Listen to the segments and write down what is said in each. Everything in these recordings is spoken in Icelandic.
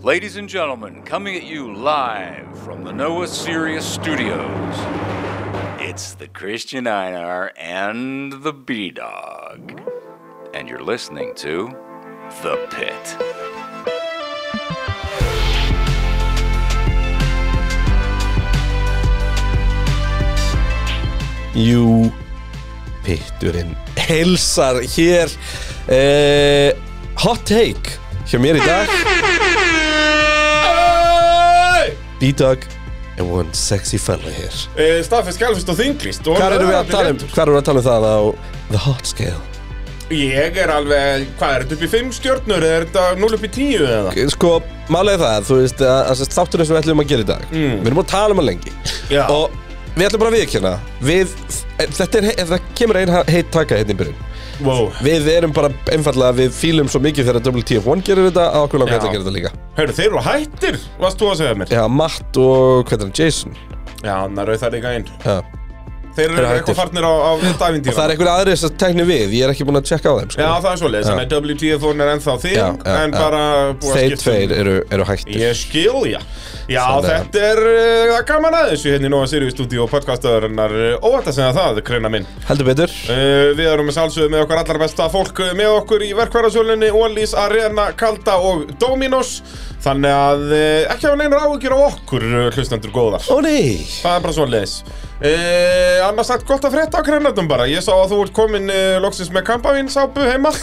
Ladies and gentlemen, coming at you live from the Noah Sirius Studios, it's the Christian Einar and the B Dog. And you're listening to The Pit. Jú, pitturinn heilsar hér eh, Hot take hjá mér í dag B-Dog and one sexy fella hér Eh, Staðfest, Galfist og Þinglist og Hvað erum við að tala um? Hvað erum við að tala um það á The Hot Scale? Ég er alveg, hvað er þetta upp í 5 stjórnur eða er þetta 0 upp í 10 eða? Sko, málega það, þú veist að, að sem sagt, þátturinn sem við ætlum að gera í dag Við erum búin að tala um hann lengi Mm. Já. Og við ætlum bara að viðkjöna Við, þetta er, þetta kemur ein heitt taka hérna í byrjun Wow Við erum bara einfallega, við fílum svo mikið þegar WTF1 gerir þetta að okkur langar Já. þetta að gera þetta líka. Hörru, þeir eru hættir, varst þú að segja mér? Já, Matt og hvernig er hann, Jason? Já, hann er auðvitað líka einn Já. Þeir eru eru hættir. eitthvað farnir á, á Og það dævindýra er einhver aðrið sem tekni við, ég er ekki búinn að tjekka á þeim, sko. Já, það er svoleiðis, þannig að WTF-un er ennþá þig Já, já, en já. bara búið að Þeir skipta um- tveir eru, eru hættir. Ég skil, já. Já, Þannig að- þetta er, eh, það er gaman aðeins hérna í Nóa Sirius stúdíu og podcastaðurinnar óvænt að segja það, kreina minn. Heldur betur. Uh, við erum að sjálfsögðu með okkar allar besta fólk uh, með okkur í verkvarðasölunni Ólís, Arena, Kalda og Dominos Þannig að uh, ekki hafa neina áhyggjur á okkur uh, hlustendur góðar Ó nei! Það er bara svo leis uh, Annars sagt gott að frétta á krennandum bara Ég sá að þú ert komin uh, loksins með kampavín sápu heima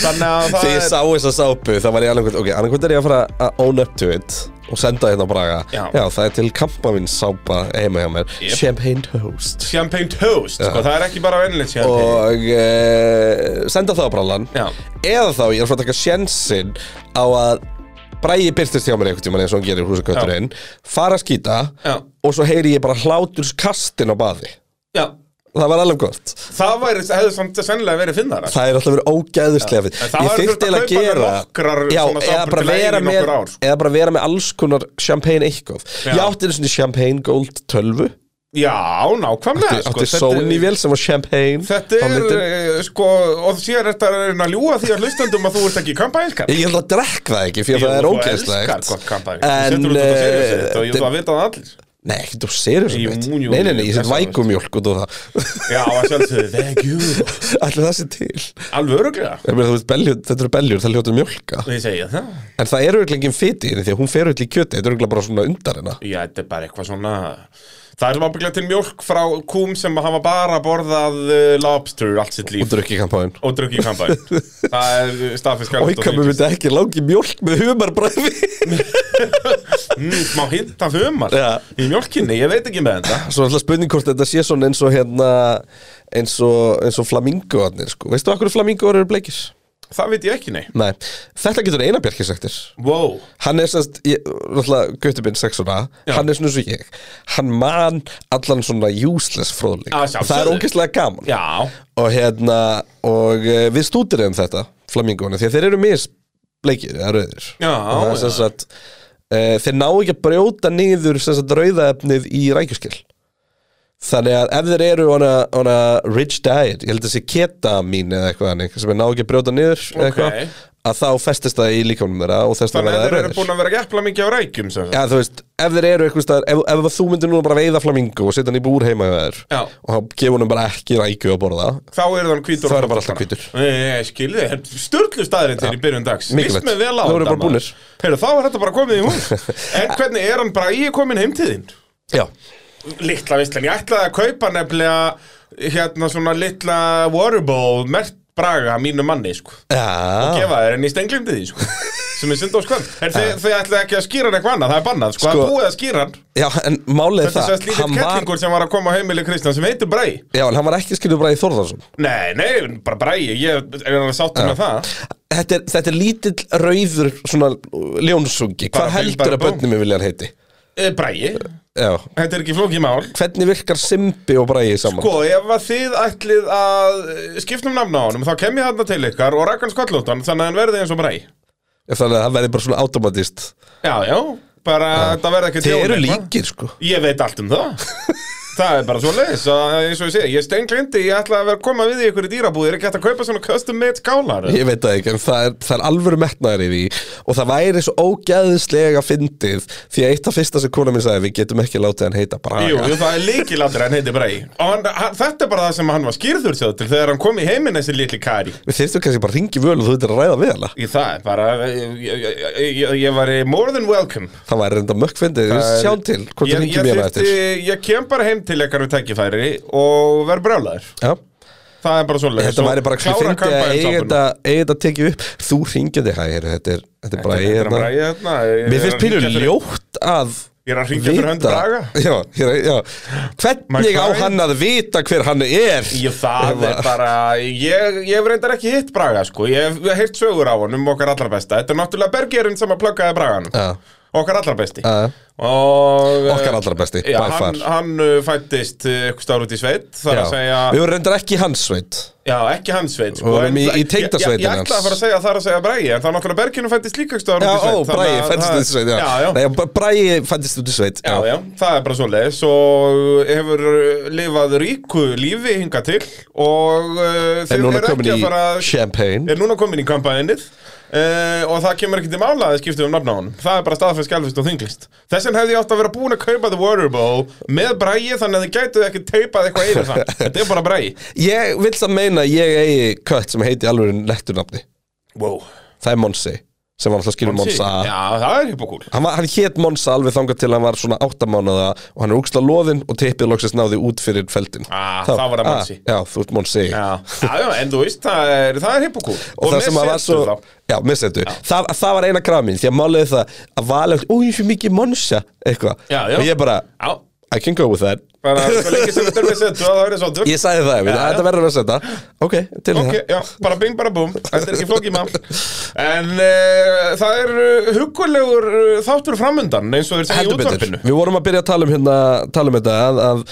Þannig að það Þegar ég er sá þessa sápu, þá var ég annarkvæmt, ok, annarkvæmt er ég að fara að own up to it og senda hérna á Braga. Já. það er til kampavinn sápa heima hjá mér. Yep. Champagne Toast. Champagne Toast, sko, það er ekki bara vennilegt champagne Og uh, senda það á Brallan. Já. eða þá ég er frá að taka sjensinn á að bræði byrtist hjá mér einhvern tímann eins og hann gerir húsaköturinn fara að skýta Já. og svo heyri ég bara hláturskastin á baði Já. það var alveg gott Það væri, hefði samt sennilega verið sko. finnara það er alltaf verið ógæðislega fyrir En það var þurft að eiginlega kaupa alveg nokkrar já, svona eða sápur bara, til að vera eiga í með, nokkur ár, sko. eða bara vera með alls konar champagne eitthvað Já. ég átti einu svona champagne gold 12 Já, nákvæmlega ég sko, átti þetta- Sony-vél sem var champagne Þetta á er, myndin. eh, sko, og sér þetta er að reyna að ljúa því að hlustendum að þú ert ekki kampænskar Ég held að drekk það ekki, fyrir að það er Þú elskar ógeðslegt gott eh, kampæn Þú setur út þetta seriðsett og ég þú að vita það allir Nei, ekki þú seriður Jú, sem mitt jú, Nei, nei, nei, jú, ég set þess að vækumjólk út á það Já, að sjálfsögðu, thank you Allir það sé til Alveg öruglega Ég meina, þú veist, beljur, þetta eru beljur, það hljóta mjólka Þið segja það En það eru örugglega engin fiti í henni því að hún fer öll í kjöti Þetta eru örugglega bara svona undar hérna. hennar Já, þetta er bara eitthvað svona Það er sem ábygglega til mjólk frá kúm sem hafa bara borðað eh, lobster allt sitt Og líf drukki kampáin og drukki kampæn Það er eh, staðfisk Og ykkar mér myndi ekki langi mjólk með humarbræði mm, Má hinta fumar Já. í mjólkinni, ég veit ekki með þetta Svo alltaf spurning hvort þetta sé svona eins og hérna Eins og, eins og flamingoarnir, sko Veistu okkur flamingoar eru bleikir? Það veit ég ekki, nei Nei, þetta getur Einar Bjarki sagt þér Wow, Hann er semst, ég- náttúrulega Gautubinn sexuna, Já. hann er svona svo ég Hann man allan svona useless fróðleik Að sjálfsögðu. Það er ógeðslega gaman já Og hérna, og uh, við stútir um þetta Flamingóni, því að þeir eru misbleikir eða rauðir Já, Og það er sem já. sagt, uh, Þeir ná ekki að brjóta niður sem sagt, rauðaefnið í rækjuskil Þannig að ef þeir eru on a, on a rich diet, ég held að sé ketamín eða eitthvað þannig, sem er ná ekki að brjóta niður eða Ok. eitthvað, að þá festist það í líkanum þeirra og þess Þannig að þeir eru rauðir. búin að vera að gefla mikið á rækjum sem sagt. Já, þú veist, ef þeir eru eitthvað staðar, ef, ef þú myndir núna bara veiða flamingo og setja hann í búr heima hjá þér Já. og þá gefur honum bara ekki rækju að borða Þá eru þann Þá hvítur og eru bara alltaf svartur. hvítur. Nei, nei, nei, skilði, störlu staðurinn til hérna í byrjun dags Mikilvægt. Vist með vel á Nú erum þetta, bara búnir. maður. Heyrðu, þá er þetta bara komið í hún En hvernig er hann bara í komin heim til þín? Já, Littla veistlan, ég ætlaði að kaupa nefnilega Hérna svona litla waterbowl Mert braga mínu manni, sko já. Gefa þér en ég stenglimdi því, sko Sem er syndóskvæm En þið, þið ætlaði ekki að skýra hann eitthvað annað, það er bannað, Ah. sko, Sko, Það er búið að skýra hann já en málið er Þetta er það sérst lítill var, kettlingur sem var að koma á heimili Kristján sem heitir Bragi Já, en hann var ekki skilur bara í Þórðarsson Nei, nei, bara Bragi, ég er alveg sáttur með það þetta er, þetta er lítill rauður svona ljónsungi Bara Hvað bing, bara heldur að búm. bönnum við vilja hann heiti? Eh, Bragi, Já þetta er ekki flókið mál Hvernig virkar Simbi og Bragi saman? Sko, ef að þið ætlið að eh, skipta um nafna á honum þá kem ég þarna til ykkar og rakkan skallóttan þannig að hann verði eins og Bragi Þannig að það verði bara svona automatist Já, já, bara þetta verði ekki Þeir djón eru eitthvað. líkir sko Ég veit allt um það Það er bara svo leiðis, eins og ég segi, ég steinglindi, ég ætla að vera að koma við í ykkur í dýrabúð, er ekki hægt að kaupa svona custom made skálar? Ég veit það ekki, en það er, það er alvöru metnaður í því og það væri svo ógæðislega fyndið því að eitt af fyrsta sem kona mín sagði við getum ekki látið hann heita Braga Jú, jú, það er líkilandur en heiti Brei. Og hann, hann, þetta er bara það sem hann var skýrður sér til þegar hann kom í heiminn þessi litli kari. Við þyrftum kannski bara að ringi völu og þú veitir að ræða við hana Í það er bara, ég, ég, ég, ég var í more than welcome. Það væri reynda mökk fyndið, við Það er- sjáum til hvort þú Ég, ringir ég, mér á þyrfti, eftir ég kem bara heim til eitthvað við tækifæri og verð brjálæður. Já, Það er bara svo leiðis. þetta væri bara kannski fyndið að eiga þetta- eiga þetta tekið upp Þú ringið þig, hæ, heyrðu, þetta er, þetta er bara Þetta er eigið bara ég hérna. ég- Mér ég er finnst að pínu hringja fyrir- ljótt að Ég er að hringja fyrir hönd vita- Braga. já, ég er að- já. Hvernig á McFly? hann að vita hver hann er? Jú, það Hérna. er bara, ég, ég hef reyndar ekki hitt Braga, sko, ég hef ég hef heyrt sögur á honum okkar allra besta, þetta er náttúrulega Bergerinn sem að pluggaði Braganum, Já. okkar allra besti Já. og eh, Okkar allra besti, já, by far. hann, hann eh, fættist eitthvað stár út í sveit, þar Já. að segja, Við vorum reyndar ekki í hans sveit já, ekki hans sveit, Við sko, vorum en í- það- í tengdasveitinni ég, ég, ég hans. ætla að fara að segja þar að segja Bragi, en það er náttúrulega Bergerinn fættist líka eitthvað stár Já, út í sveit, ó, þannig Bræi að fættist út það- í sveit Já, já, já. Nei, bara Bræi fættist út í sveit Já, já, það er bara svo leiðis og hefur eh, lifað ríku lífi hinga til og uh, En þeir núna eru komin ekki í að fara að champagne er núna komin í kampaninnið uh, og það kemur ekki til mála að þið skiptum um nafna á honum það er bara staðfæð skjálfist og þinglist þessin hefði ég átt að vera búin að kaupa The Water Bowl með bræi þannig að þið gætuð ekki teipað eitthvað yfir það þetta er bara bræi Ég vil það meina að ég eigi kött sem heiti alveg netturnafni wow. Það er Monsi sem var alltaf skilur Monsa já, það er hippokúl Hann, var, hann hét Monsa alveg þangað til hann var svona áttamánaða og hann er úksla loðinn og tippið loksist náði út fyrir feldin Ah, þá var það ah, Monsi. Já, þú ert Monsi já. Já, já, en þú veist, það er, það er hippokúl og, það sem að var svo já, missetu, það, það var eina kramin því að máliði það að vala ó, ég fyrir mikið monsa, eitthvað Já, já. og ég bara, já, I can go with that bara svo lengi sem þetta er með setu að það verið svo ég sagði það, já, Já, já. þetta verður að setja ok, til hérna. í Ok, það já, bara bing, bara búm, þetta er ekki flókið mál En uh, það er uh, huggulegur uh, þáttur framundan eins og þeir segja í heldur betur, útvarpinu við vorum að byrja að tala um hérna, tala um þetta að, að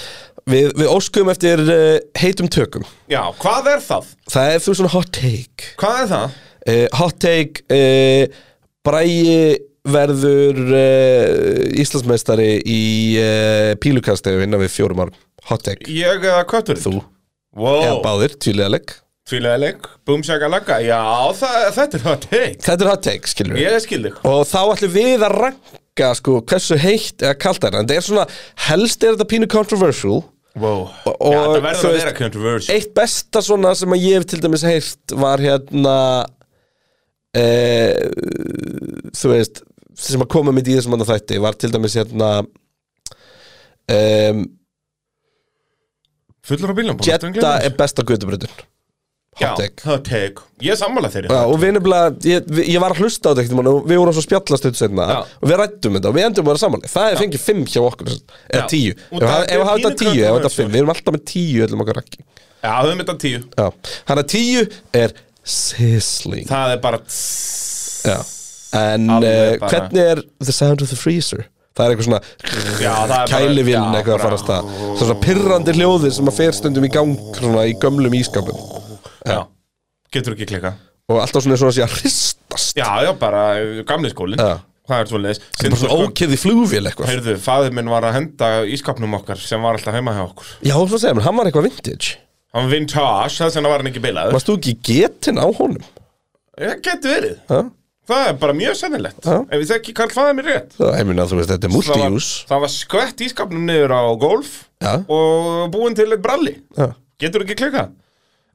við, við óskum eftir uh, heitum tökum Já, hvað er það? það er þú svona hot take Hvað er það? uh, hot take uh, bræi verður uh, Íslandsmeistari í uh, pílukastegu innan við fjórum árum hot take Ég eða kötturinn? Þú eða Wow, báðir, tvílega legg tvílega leik, búm, sjaka, lagga Já, það, þetta er það teik Þetta er hot take, skilur við Ég skil þig Og þá ætlum við að ranka sko, hversu heitt eða kalt er En það er svona, helst er þetta pínu controversial wow. Og- Já, og það þú verður að veist- vera controversial Eitt besta svona sem að ég hef til dæmis heilt var hérna e, Þú veist, sem að koma mitt í þessum andan þætti Var til dæmis hérna um, Fullur á bílum Jetta er besta gutubröðun Já, Hot take það teik Ég er sammála þeirri Já, og við nefnilega, ég, við- ég var að hlusta á þetta ekkert og við vorum svo spjallast þetta senna Já. og við rættum þetta og við endum að vera samanlega það er fengið 5 hjá okkur, sem sagt, eða Já. 10 ef Og það það- er sko. ef það pínu er 10, ef það er kontroversial. 5 við erum alltaf með 10 öllum okkar rakki Já, þau mynda tíu Já, hann að 10 er sizzling Það er bara Já, en uh, Alveg bara- hvernig er the sound of the freezer? Það er eitthvað svona Já, það er bara- kælivillin já, eitthvað að fara að stað bara- Svo svona pirrandi hljóði sem að fer stundum í gang svona í gömlum ískapum Já, getur ekki klika og alltaf svona svona sé að hristast Já, já, bara eh, gamli skólinn Já. Það er svoleiðis Bara svona ókið í flugvél eitthvað Heyrðu, faðir minn var að henda ískapnum okkar sem var alltaf heima hjá okkur Já, þú segir mér, hann var eitthvað vintage Hann var vintage, þess vegna var hann ekki bilaður Varst þú ekki getinn á honum? Það getur verið Ha? Það er bara mjög sennilegt Já. Ef við þekki Karl faðir minn rétt Það, ég minna, þú veist, þetta er það var, multi-use það var skvett ískapnum niður á golf Já. Og búinn til eitt bralli Já. Getur ekki klika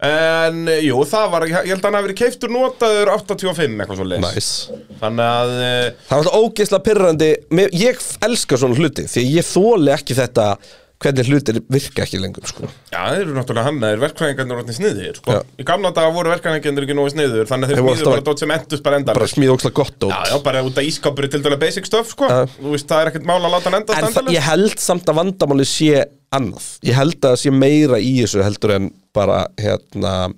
En, eh, jú, það var, ég held að hann hafi verið keiftur notaður 85 eitthvað svo leis Nice. Þannig að, eh, Það var alltaf ógeðslega pirrandi Mér- Ég elska svona hluti Því að ég þóli ekki þetta Hvernig hlutir virka ekki lengur sko. Já, þeir eru náttúrulega hannaðir, verkfræðingarnir orðin sniðir, sko. Já. Í gamla daga voru verkfræðingarnir ekki nógu sniður, þannig að Þeir þeir voru smíðu alltaf- bara dót sem endust bara endan. Bara smíða ógeðslega gott Já, dót já, bara út af ískapur er til dæla basic stuff, sko. Já. Þú veist, það er ekkert mála að láta hann endast En það, endalega. ég held samt að vandamáli sé annað Ég held að það sé meira í þessu heldur en bara hérna,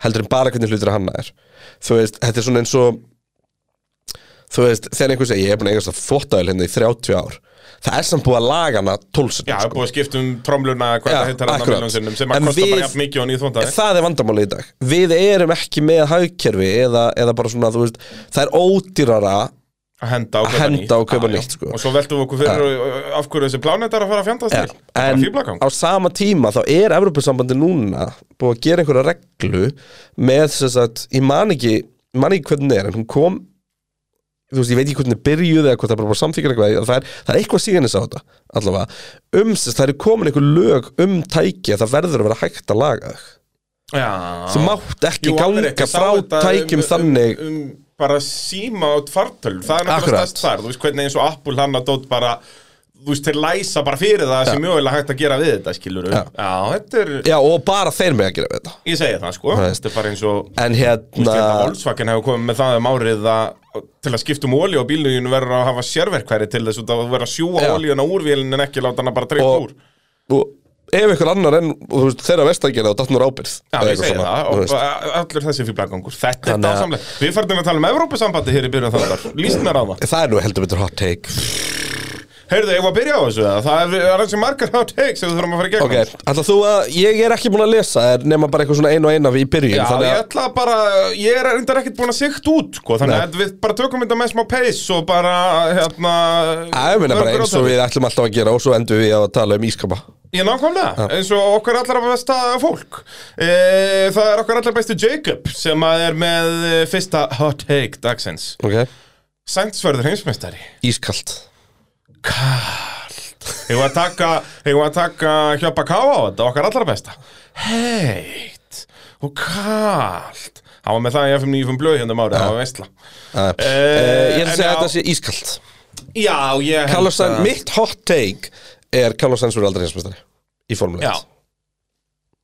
heldur en bara hvernig hlutir að hanna er Þú veist, þetta er svona eins og Þú veist, þegar einhver segi ég er búin að eigast að þvottaðil hérna í 30 ár Það er samt búið að laga hana sko. 12 Já, sinni það er búið að skipta um tromluna, hvað Já, það heitar hann að akkurat. miljón sinnum, sem að En kosta við- bara jafn mikið og nýð þvóndaði. Það er vandamáli í dag Við erum ekki með hagkerfi eða, eða bara svona, þú veist, það er ódýrara að henda og Að kaupa henda nýtt. og kaupa Já, já. nýtt, sko. og svo veltum við okkur fyrir uh, af hverju þessi plánetar að fara að fjandast til Bara en fíflagang. á sama tíma þá er Evropasambandi núna búið að gera einhverja reglu með sem sagt, ég man ekki, ég man ekki hvernig er en hún kom þú veist, ég veit ekki hvernig byrjuði eða hvort það bara var samþykir eitthvað það er, það er eitthvað síðanis á þetta allavega um, sem sagt, það er komin einhver lög um tæki að það verður að vera hægt að laga þau Já. þú mátt ekki Ah. Jú, alveg rétt, ganga ég sá frá þetta tækjum þannig um, um, bara síma og fartöl það er náttúrulega Akkurat. stærst þar, þú veist hvernig eins og Apple hann að dót bara þú veist, þeir læsa bara fyrir það sem mjög vel hægt að gera við þetta, skilur Já. já, þetta er, já, og bara þeir með að gera við þetta ég segi það sko Það er- þetta er bara eins og, en þú veist, þetta hérna Volkswagen hefur komið með það um árið að til að skipta um olíu og bíluginu verður að hafa sérverkværi til þess út að þú verður að sjúa Já. olíuna úr vélinn en ekki láta hana bara dreipa Og- úr og ef einhver annar en þú veist, þeirra vestangina og dattnur ábyrð Já, Eða ég eitthvað segi svona, það, þú og veist. bara allur þessi fíblagangur, þetta er Þannig að- dásamlega Við færðum að tala um Evrópusambandi hér í byrjun þáttar, líst mér á það Það er nú heldur betur hot take Heyrðu, ég var að byrja á þessu eða? Það er alveg sem margar hot takes sem við þurfum að fara í gegnum Ok, ætla þú að, ég er ekki búin að lesa þér nema bara eitthvað svona einu og eina í byrjun Já, þannig ég að, ætla bara, ég er reyndar ekkert búin að sikt út sko, Þannig að við bara tökum þetta með smá pace og bara, hérna að ég minna bara mörgur eins og átök. við ætlum alltaf að gera og svo endum við á að tala um ískapa Ég nákvæmlega, eins og okkar allra besta fólk e, Það er okkar allra bestu Jacob sem að er með eh, fyrsta hot take dagsins Ok, Sænsverður heimsmeistari ískalt Ég var að taka, ég var að taka hjöpa káa á þetta, okkar allra besta. Heitt og kalt. Hann var með það í FM 95 blöð hérna um árið, það var veistla. uh, Ég ætla að Eh, segja en að já. þetta sé ískalt Já, ég... Carlos Sainz, mitt hot take er Carlos Sainz verður aldrei hinsmestari í Formule Já.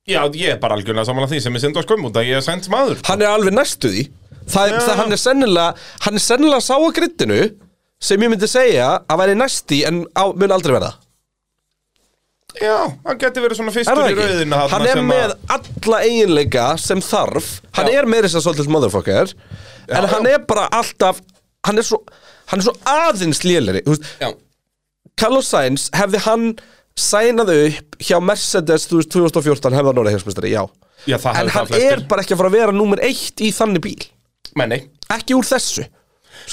1 Já, ég er bara algjörlega samanlega því sem ég sendi á skömm út að ég er sent maður. Hann er alveg næstu því Það, er, Já. það hann er sennilega, hann er sennilega sá að grittinu sem ég myndi segja að væri næsti en á, mun aldrei verða Já, hann geti verið svona Er fyrstur það í ekki? rauðina Hann er með alla eiginleika sem þarf Hann Já. er með þess að svolítið motherfucker En Já, hann já. er bara alltaf Hann er svo, hann er svo aðeins léleri Þú veist, Já, Carlos Sainz hefði hann sænað upp hjá Mercedes þú veist, 2014 hefði hann orðið heimsmyndstari, já Já, En það hefði hann það flestir. er bara ekki að fara að vera númer eitt í þannig bíl menni. Ekki úr þessu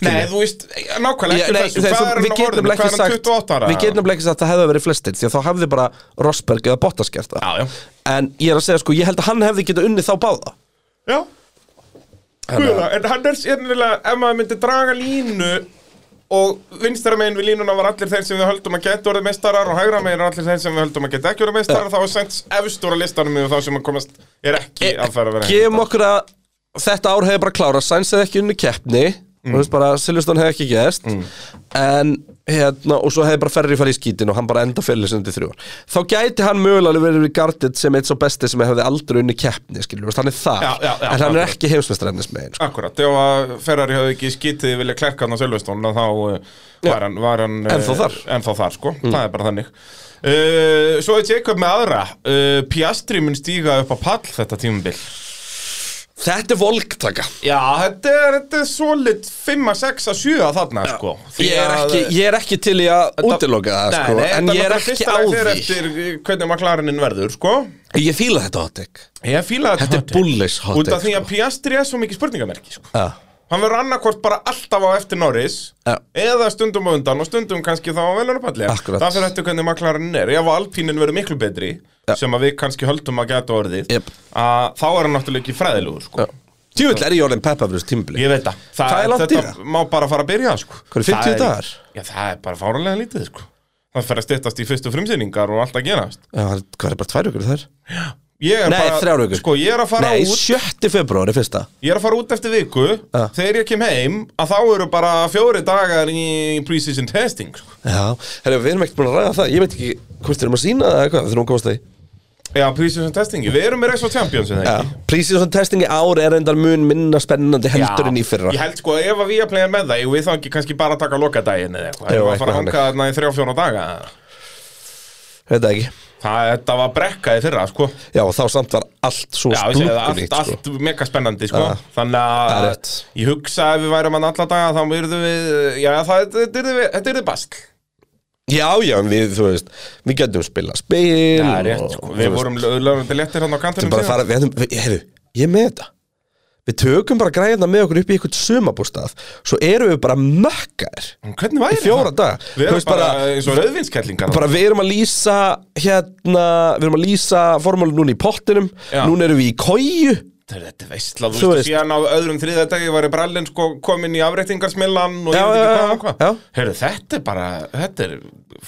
Nei, þú veist, eh, nákvæmlega Já, ekki nei, þessu. þessu- Hvað er Við hann á getum orðinu? nefnilega Hvað ekki er hann sagt 28 ára? Við getum nefnilega ekki sagt að það hefði verið flestir Því að þá hefði bara Rosberg eða Bottas gert það Já, já. En ég er að segja sko, ég held að hann hefði getað unnið þá báða Já Guða, en hann er sérnilega ef maður myndi draga línu og vinstra megin við línuna var allir þeir sem við höldum að geta orðið meistarar og hægra megin er allir þeir sem við höldum að geta ekki orðið meistarar þá er sent efstur á listanum yfir þá sem að komast er ekki að fara að vera Eh, Gefum okkur að þetta ár hefði bara klárað Sainz hefði ekki unni keppni mm. veist, bara, Silveston hefði ekki gæst Mm. en hérna, og svo hefði bara Ferri farið í skítin og hann bara enda fyrir sinni þrjú ár þá gæti hann mögulega verið í gardið sem eitt svo besti sem hefði aldrei unni keppni skilur, veist, hann er þar, Já, já, já, en hann er akkurat. ekki heimsmestrefnis með sko. Akkurat, ef að Ferrari hafði ekki skítið vilja klerka hann á Sölvestón þá uh, var hann, var hann uh, Ennþá þar. Mm. ennþá þar, sko, það er bara þannig uh, Svo er Jacob með aðra uh, Piastri mun stíga upp á pall þetta tímabil þetta er volktaka Já, þetta er, þetta er solid 5 að 6 að 7 að þarna, sko. Því ég er, að- ekki, ég er ekki til í að útiloka það Nei, sko, nei, en þetta ég er náttúrulega ekki fyrsta á lagi því fer eftir eh, hvernig maklarinin verður, sko. ég fíla þetta hotek Ég fíla þetta Þetta er hot take. bullish hot Út af take, því að sko. Piastri er svo mikið spurningamerki, sko. ah. Hann verður annarkvort bara alltaf á eftir Norris Já. eða stundum á undan og stundum kannski þá á velunarpalli. Akkurat. Það fyrir eftir hvernig maklarinin er. Ef alpínin verður miklu betri, sem að við kannski höldum að geta orðið, Jep. að þá er hann náttúrulega ekki fræðilugur, sko. Tjúvill er ég orðin peppa fyrir þessu tímbli Ég veit það Þa, Hvað er langt í Þetta má bara fara að byrja sko. Hvað eru 50 Það er- dagar? Já, það er bara fáranlega lítið sko. Það fer að styttast í fyrstu frumsýningar og allt að gerast Já, hvað er bara tvær vikur þar? Ég er Nei, bara, þrjár vikur. Sko, ég er að fara Nei, út 7. februari fyrsta Ég er að fara út eftir viku Ah. Þegar ég kem heim Að þá eru bara fjóri dagar í pre-season testing sko. Já, herri, við erum ekkert búin að ræða það Ég veit ekki hvort við erum að sína það eða hvað Þegar hún komast því Já, pre-season testingi Við erum með Rex og Champions eða ekki? Prísíðsson testingi ár er endar mun minna spennandi heldur en í fyrra Ég held sko að ef að við að playa með það Ég við þá ekki kannski bara að taka lokadaginn eða eitthvað Jú, Ég var að eitthvað fara að hanga þarna í þrjá fjóra daga Þetta ekki Það, þetta var brekkaði fyrra sko Já, og þá samt var allt svo Já, ég segi það, splunkunýtt allt, sko. allt mega spennandi sko. Ja. Þannig Það er að rétt. ég hugsa ef við værum hann alla daga þá verðum við, já það, þetta yrði við- þetta er þið basl Já, já, en við, þú veist Við getum spila spil Það er og- rétt, sko. Mm, þú við veist, vorum lögurandi léttir hann á þetta er kantinum bara að síðan. fara, við hefum, við- heyrðu, ég er með þetta Við tökum bara græðina með okkur upp í eitthvað sumabústað Svo eru við bara mökkar En Hvernig væri Í fjóra daga. Við Þú erum veist bara, bara- eins og rauðvinskellingar bara við erum að lýsa hérna, við erum að lýsa formúlu núna í pottinum Já. núna erum við í kóju Þetta er- þetta er veistla, þú Þú veist, veist. síðan á öðrum þriða dagi var ég brallinn sko komin í afreiktingarsmillan og Já, ég veit já, ekki já, hvað og hvað. já. Heyrðu, þetta er bara, þetta er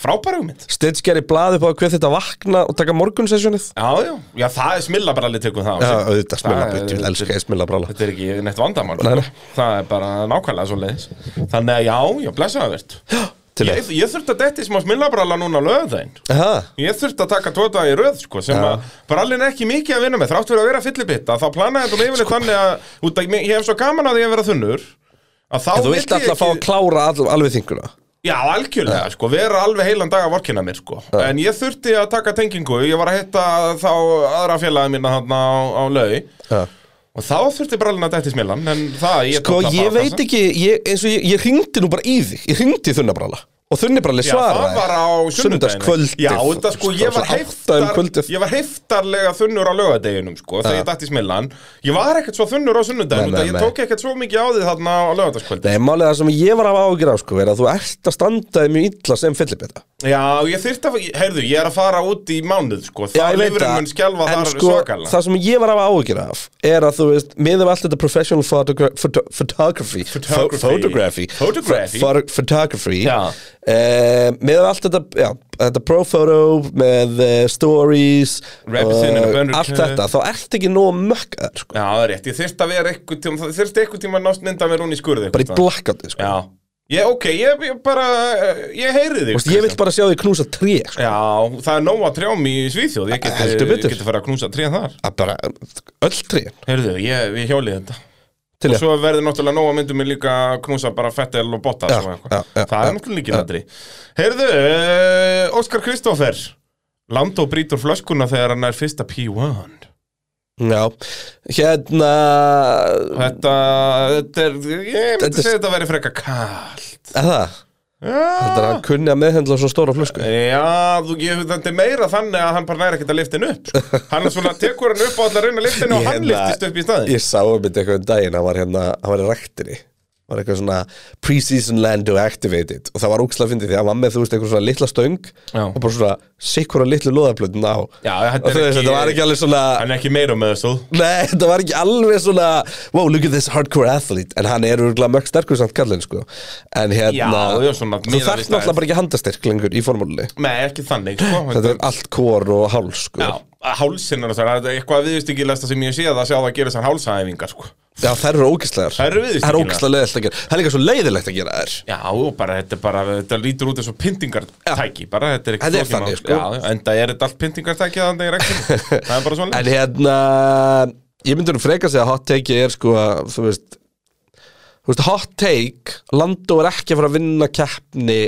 frábæra hugmynd. Stitch gerir blað upp á hver þetta vakna og taka morgunsessjónið Já, já, já, það er smillabralli tökum það. á Já, sig. auðvitað smilla Það er- byttu, elska ég smilla brála Þetta er ekki neitt vandamál Nei, sko. nei. Það er bara nákvæmlega svo leiðis Þannig að já, já, blessaðavert til ég, ég þurfti að detti smá smillabralla núna löðaðinn Aha, Ég þurfti að taka tvo daga í röð sko, sem að brallin er ekki mikið að vinna með þrátt fyrir að vera fyllibitta þá planaði þetta um yfirleitt Sko. þannig að, út að ég ég hef svo gaman að því að vera þunnur að þá En þú vildi vilt ég alltaf fá að ekki- klára all, alveg þinguna Já, algjörlega, sko, vera alveg heilan dag að vorkina mér, sko En ég þurfti að taka tengingu, ég var að hitta þá aðra félagi mína þarna á, á lau Já. Og þá þurfti brallin að detti smillan, en það ég Sko, ég veit ekki, ég, eins og ég, ég hringdi nú bara í þig Ég hringdi í þunnabrála Og þunnabráli Já, svaraði það var á sunnudagskvöldið Sunnudagskvöldið. Já, þetta sko, ég var, Svona átta um heiftar, kvöldið. ég var heiftarlega þunnur á lögadeginum sko, þegar ég dætti smillan Ég var ekkert svo þunnur á Nei, sunnudagin nei, Ég nei. tók ekkert svo mikið á því þarna á lögadagskvöldi Nei, málið það sem ég var af ágjur á sko er að þú ert að standaði mjög illa sem fyllibita Já, ég þyrfti að, heyrðu, ég er að fara út í mánuð sko, Já, ég Það veit lifurinn það, mun skjálfa en þar sko, svakalega það sem ég var af áhyggjur af er að þú veist, miðum allt þetta professional photogra photo photography Pho- Photography. photography Photography. Pho- pho- photography Já. Eh, miðum allt þetta, já, þetta pro photo með uh, stories Represent and og abundant allt care. þetta, þá ert ekki nóg mökkar sko, Já, það er rétt, ég þyrfti að vera eitthvað tíma Það þyrfti eitthvað tíma að nást mynda mér hún í skurði bara í blackouti sko. Já, ég, ok, ég, ég bara, eh, ég heyri þig Þú veist, ég vil bara sjá því knúsa tré sko. Já, það er nóg að trjám í Svíþjóð Ég geti, Heldur betur. geti fara að knúsa tríðan þar Að bara, öll tré Heyrðu, ég, ég hjólið þetta til Og ég svo verður náttúrulega nóg að myndum við líka að knúsa bara Fettel og Bottas Já, og eitthvað. já, já, Það er já, náttúrulega líkið aðri Heyrðu, uh, Óskar Kristófer Landó brýtur flöskuna þegar hann er fyrsta P1 Já, hérna Þetta, þetta er, ég myndi Þetta er- segja þetta verið frekar kallt Er það? Þetta er að Já, hann kunni að meðhendla svona stóra flösku Já, þú gefur þetta er meira þannig að hann bara næri ekkert að liftin upp sko. Hann er svona, tekur hann upp á allar reyna liftinu og Ég hann hérna- liftist upp í staði Ég sá um þetta eitthvað um daginn Hann var hérna, hann var í rektinni Var eitthvað svona pre-season Lando activated Og það var úkslega fyndið því að hann var með þú veist eitthvað svona litla stöng Já. Og bara svona sikkura litlu loðarplötin á Já, Og þetta er þú veist, ekki- þetta var ekki alveg svona Hann er ekki meira með þessu Nei, þetta var ekki alveg svona Wow, look at this hardcore athlete En hann er örgulega mörg sterkur samt kallinn sko En hérna, Já, já, svona þú miðað við þarf stærð. náttúrulega bara ekki handastyrk lengur í formúlunni Nei, ekki þannig, sko Þetta er allt kór og háls sko Já, að hálsinn er það er eitthvað viðustykilegasta sem ég sé að það sé að það gera sann hálsæfingar sko. Já, þær eru ógæslegar Þær eru Það er ógæslega leiðilegt að gera viðurskiljanlegar. Það er líka svo leiðilegt að gera þær Já, og bara þetta er bara, þetta lítur út eins og pyntingartæki bara, þetta er ekki Þetta er flókið þannig, mál. sko. Já, en það er þetta allt pyntingartæki þannig í reglum, það er bara svona En hérna Ég myndi nú freka sig að hot take er sko að, Þú veist Þú veist, hot take Landó er ekki að fara að vinna keppni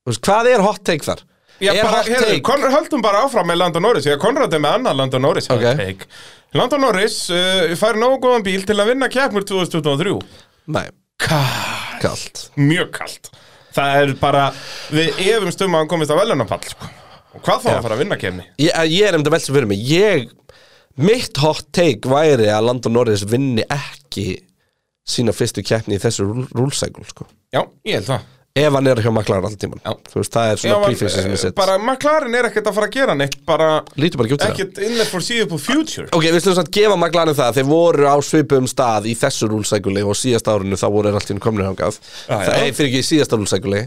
Þú veist, hvað er hot take þar? Já, er bara, hot heyrðu, take Konr, höldum bara áfram með Landon Norris Ég Konrad er með annað Landon Norris Ok. okay. Landon Norris uh, fær nógu góðan bíl til að vinna keppnur 2023 Nei, Kalt, kalt mjög kalt Það er bara, við efumst um að hann komist að velunapall sko. Og hvað þá að fara að vinna keppni? Ég, eh, ég er nefndi að velsa fyrir mig ég, Mitt hot take væri að Landon Norris vinni ekki sína fyrstu keppni í þessu rúlsækul sko. Já, ég held það ef hann er hjá maklar allan tíman Já. veist, það er Já, svona prefixi sem en, ég sett bara McLaren er ekkert að fara að gera neitt bara lítur bara ekki út til það ekkert in the foreseeable future Ok, við slum samt gefa maglanum það þeir voru á svipum stað í þessu rúlsækuli og síðast árinu þá voru þeir allt í hennu komnir hangað Já, það já. er fyrir ekki í síðasta rúlsækuli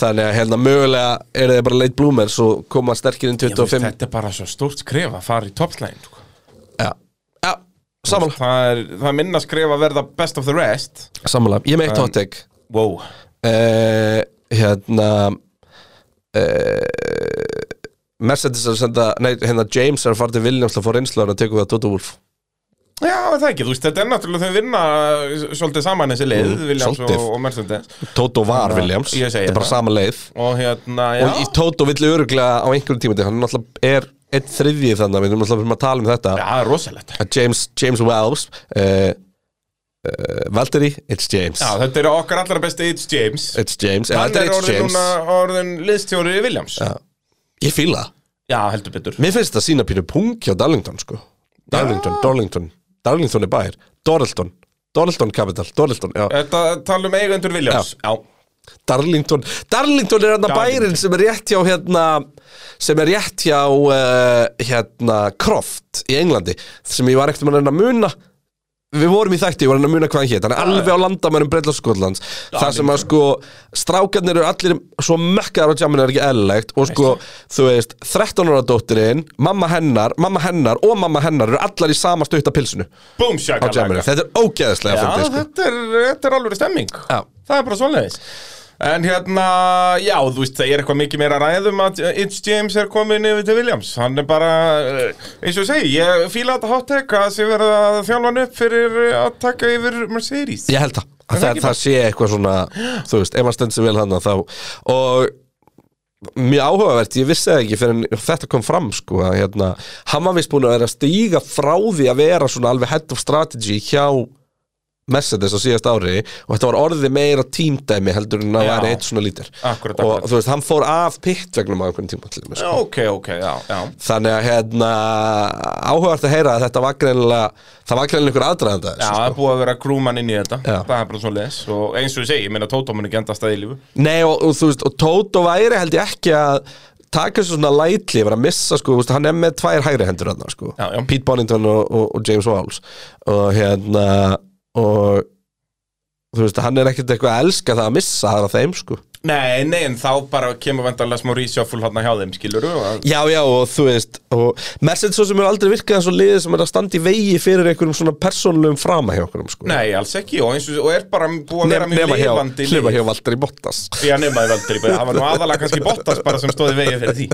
þannig að hérna mögulega eru þeir bara late bloomers og koma sterkir inn Ég veist, 25 þetta er bara svo stórt skref að fara í toppslægin sko. Já, já samanlega, það, er- það er minna skref að verða best of the rest samanlega, ég er með eitt hot take wow. uh, hérna uh, Mercedes er að senda nei, hérna James er að fara til Williams til að fá reynslu og tekur við að Toto Wolf Já, það er ekki, þú veist, þetta er náttúrulega þau vinna s- svolítið saman þessi leið, Mm, Williams og, svolítið. og Mercedes Toto var Þannig að Williams, ég segi þetta er bara það. sama leið og hérna, já, og í Toto vill öruglega á einhverjum tíma hann náttúrulega er einn þriðji þannig við erum náttúrulega fyrir að tala um þetta já, það er rosalegt að James, James Wells uh, uh, Valtteri, it's James Já, þetta er okkar allra besti It's James it's James, ja, Hann þetta er er it's orðin James núna orðin liðstjóri Williams Já, ég fíla það heldur betur Mér finnst þetta sína pínu punk hjá Darlington sko Darlington, Darlington Darlington er bæir, Doralton Doralton Capital, Doralton, já Þetta tala um eigendur Williams Já, Darlington, Darlington er hérna Darlington. bærin sem er rétt hjá hérna sem er rétt hjá uh, hérna Croft í Englandi sem ég var ekkert mann að muna við vorum í þætti, ég var að muna hvað hann hétt hann er alveg á landamærum Breitlandskotlands það sem að sko, strákarnir eru allir svo mökkaðar og tjáminn er ekki eðlilegt og sko, þú veist, 13 ára dóttirin mamma hennar, mamma hennar og mamma hennar eru allar í sama stutta pilsinu á búm, sjaka tjáminn, þetta er ógeðslega Já, fyndið, sko. þetta er, þetta er alveg stemming Já. Það er bara svoleiðis En hérna, já, þú veist, það er eitthvað mikið meira að ræðum að uh, Itch James er komin yfir til Williams Hann er bara, uh, eins og ég segi, ég fíla þetta hot take að sé verið að þjálfa hann upp fyrir uh, að taka yfir Mercedes Ég held það, að það það, ekki það sé eitthvað svona Þú veist, ef maður stendur sig vel hann þá, Og mjög áhugavert, ég vissi það ekki fyrir en þetta kom fram sko að hérna, hann var vist búin að vera að stíga frá því að vera svona alveg head of strategy hjá Mercedes á síðast ári og þetta var orðið meira tímdæmi heldur en að Já. vera eitt svona lítir Akkúrat, og akkúrat. þú veist, hann fór af pitt vegnum á einhvern tíma til sko. Ok, ok, já, já þannig að hérna áhugavert að heyra að þetta var greinilega það var greinilega einhver aðdraðanda Já, þessu, það er búið að vera krúman inn í þetta sko. Já. Það er bara svo leis Og eins og ég segi, ég meina Tóta mun ekki enda staði í lífu Nei og, og þú veist, og Tóto væri held ég ekki að taka þessu svona lætli yfir að missa sko, þú veist, hann er með tvær hægri hendur hann sko. Já, já. Pete Bonington og, og, og James Walls og hérna og þú veist, hann er ekkert eitthvað að elska það að missa það að þeim sko. Nei, nei, en þá bara kemur vendarlega smá reshuffle hann hjá þeim, skilur Já, já, og þú veist og Mercedes svo sem er aldrei virkað eins og liðið sem er að standa í vegi fyrir einhverjum svona persónulegum frama hjá okkur sko. Nei, alls ekki, og, eins og, og er bara búið að vera Nef- mjög nema hjá, lifandi lið. nema hjá Valtteri Bottas Já, nema í Valdur Það var nú aðalega kannski Bottas bara sem stóði vegið fyrir því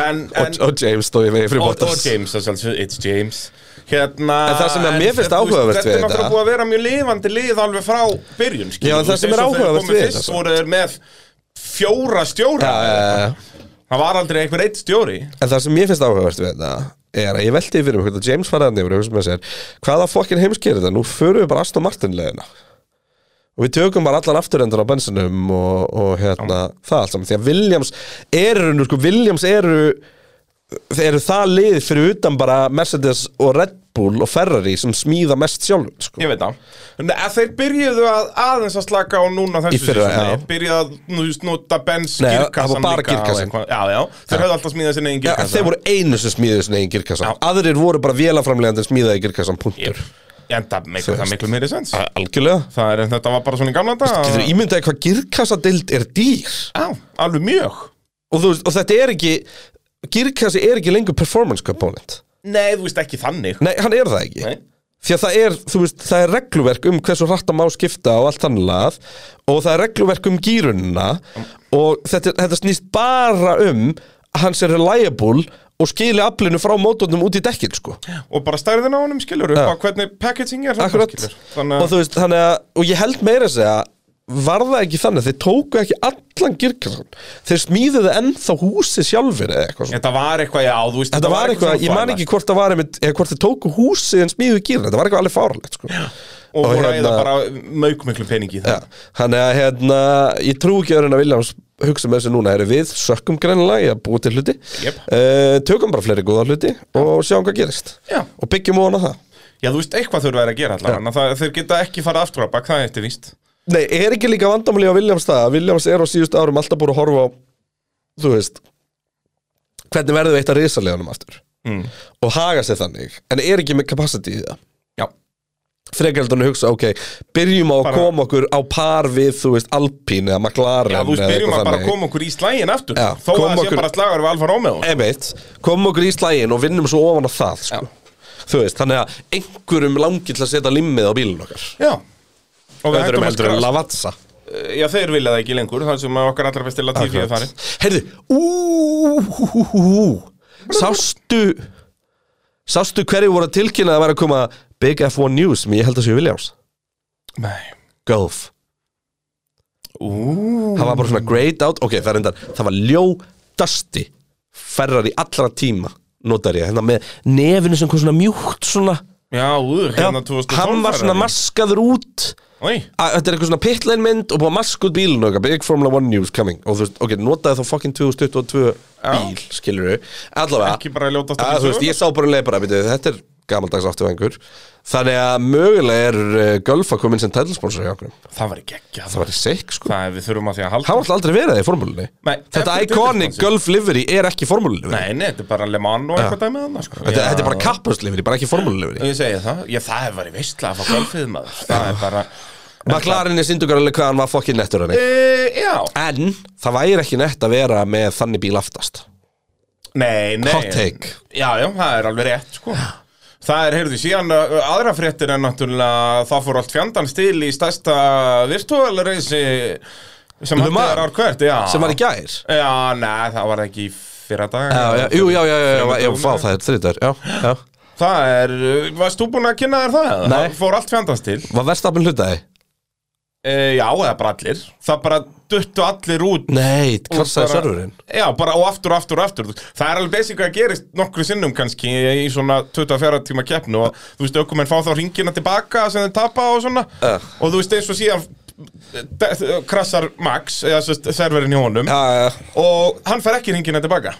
En, en og, og James stóði í vegi fyrir og, Bottas og James, þess að sjálfsögðu, it's James Hérna, En það sem að en mér finnst þú veist, áhugavert Þetta við er náttúrulega þetta- búið að vera mjög lifandi lið alveg frá byrjun skilur Já, en við. það sem er Eins og þegar áhugavert komu við Fyrst þetta. voru þeir með fjóra stjóra Já, já, já, já. Það var aldrei einhver eitt stjóri En það sem ég finnst áhugavert við þetta er að ég veldi fyrir mig hvernig að James faraðan yfir og hugsa með sér, hvaða fokkin heimskerir þetta? Nú förum við bara Aston Martin leiðina og við tökum bara allar afturrendur á bensinum og, og hérna það allt saman, því að Williams eru nú sko, Williams eru eru það lið fyrir utan bara Mercedes og Red Bull og Ferrari sem smíða mest sjálf sko. Ég veit það. En að þeir byrjuðu að aðeins að slaka á núna þessu Í fyrra, sísoni. já. Byrjuðu að nú just nota Benz Nei, það var girkassan bara líka og girkassan. eitthvað. Já, já, þeir höfðu alltaf smíðað sinni einn Ja, girkassa þeir voru einu sem smíðið sinni eigin girkassa aðrir voru bara vélaframlegandi smíðaði girkassan punktur En það Þú miklu, það veist. miklu meiri sens algjörlega Það er, þetta var bara svona í gamla dag Getur ímyndaði hvað girkassadeild er dýr Já, alveg mjög og, þú veist, og þetta er ekki girkassi er ekki lengur performance component Nei, þú veist ekki þannig nei, hann er það ekki Nei. því að það er, þú veist, það er regluverk um hversu hratt að má skipta og allt annað og það er regluverk um gýrunna og þetta, þetta snýst bara um að hann sé reliable og skili aflinu frá mótornum út í dekkin sko. Og bara stærðin á honum skilur upp á hvernig packaging er þarna, Akkurat skilurðu. og, Þannig að þú veist, þannig að, og ég held meira að segja var það ekki þannig, þeir tóku ekki allan girkassan, þeir smíðuðu ennþá húsi sjálfur eða eitthvað svona. Þetta var eitthvað, já, þú veist Þetta var eitthvað, ég man svona ekki hvort það var einmitt, eða hvort þið tóku húsið en smíðu gýrin, þetta var eitthvað alveg fáralegt sko. Og og voru að eða hérna- bara mauk miklu peningi í Já, það Þannig að hérna, ég trú ekki öðrun að Williams hugsa með þessu núna, eru við sökkum greinlega í að búa til hluti, Jep. Eh, tökum bara fleiri góða hluti og sjáum hvað gerist Já. og byggjum ofan á það. Já, þú veist, eitthvað þurfa þeir að gera allavega það- Þeir geta ekki farið aftur á bak, það er eftir víst Nei, er ekki líka vandamáli á Williams það að Williams er á síðustu árum alltaf búin að horfa á þú veist hvernig verður við eitt að risaleganum aftur Mm. og haga sér þannig, en er ekki með capacity í það Já. frekaraldunni hugsa, ok, byrjum á að Bara- koma okkur á par við, þú veist, Alpine eða McLaren Já, þú veist, eða byrjum eitthvað að bara þannig. koma okkur í slægin aftur Já, Þó að koma það sé okkur- bara slagur við Alfa Romeo Einmitt, komum okkur í slægin og vinnum svo ofan á það, sko Þú veist, þannig að einhverjum langið til að setja limmið á bílinn okkar Já Og við Öðrum hættum að heldur en skrast Lavazza Já, þeir vilja það ekki lengur, þar sem að okkar allra besti Latifi er farin Heyrðu, úúúúú Sástu Sástu hverju voru að tilkynna að vera að koma Big F1 News sem ég held að séu Williams Nei Golf Ú, Það var bara svona greyed out Ok, það er endar Það var ljótasti Ferrar í allra tíma Notar ég Hérna með nefinu sem kom svona mjúkt svona já, ú, hérna 2012 Hann var svona maskaður út Í, að þetta er eitthvað svona pitlane mynd og búið að maska út bílun og eitthvað, big Formula 1 news coming og þú veist, ok, notaði þá fucking 2022 bíl, skilur við, allavega Ekki bara ljótasta að, bíl þú veist, ég sá bara um leið bara, byrju, þetta er gamaldags afturvengur þannig að mögulega er uh, Gölfa komin sem tætlsponsor hjá okkur Það var ekki ekki það var í seik sko Það er við þurfum að því að halda hann var alltaf aldrei verið það í formúlunni Nei, þetta ekki iconic titilsponsor. Gölf livery er ekki formúlunni Nei, nei, þetta er bara Le Mans og eitthvað dæmið annars sko. þetta, Já. þetta er bara kappast livery, bara ekki formúlunni Ég segi það, já það hefur verið veistla að fá golfið maður Það er bara McLaren er sindugaralega hvað hann var fokkin nettur hann e, Já, en það væri ekki nett að vera með þannig bíl aftast nei, nei Hot take. Já, já, það er alveg rétt sko Það er, heyrðu, síðan uh, aðra fréttir en náttúrulega það fór allt fjandans til í stærsta virtuálreisi sem Le hann Mans. er ár hvert, já sem var í gær Já, nei, það var ekki í fyrra dag Já, já, jú, já, já, já, já, já, já, það er þrítar, já, já Það er, uh, varst þú búinn að kynna þér það? Nei. Það fór allt fjandast til Var verðstafn hlutaði? e, Já, eða bara allir Það bara duttu allir út Nei, og krassaði bara- serverinn Já, bara og aftur, og aftur, og aftur Það er alveg basic að gerist nokkru sinnum kannski í svona 24 tíma keppnu og þú veist, aukumenn fá þá ringina tilbaka sem þeir tapa og svona Ugh. og þú veist, eins og síðan eh, de- krassar Max, eða sérst, serverinn í honum Já, já, og hann fær ekki ringina tilbaka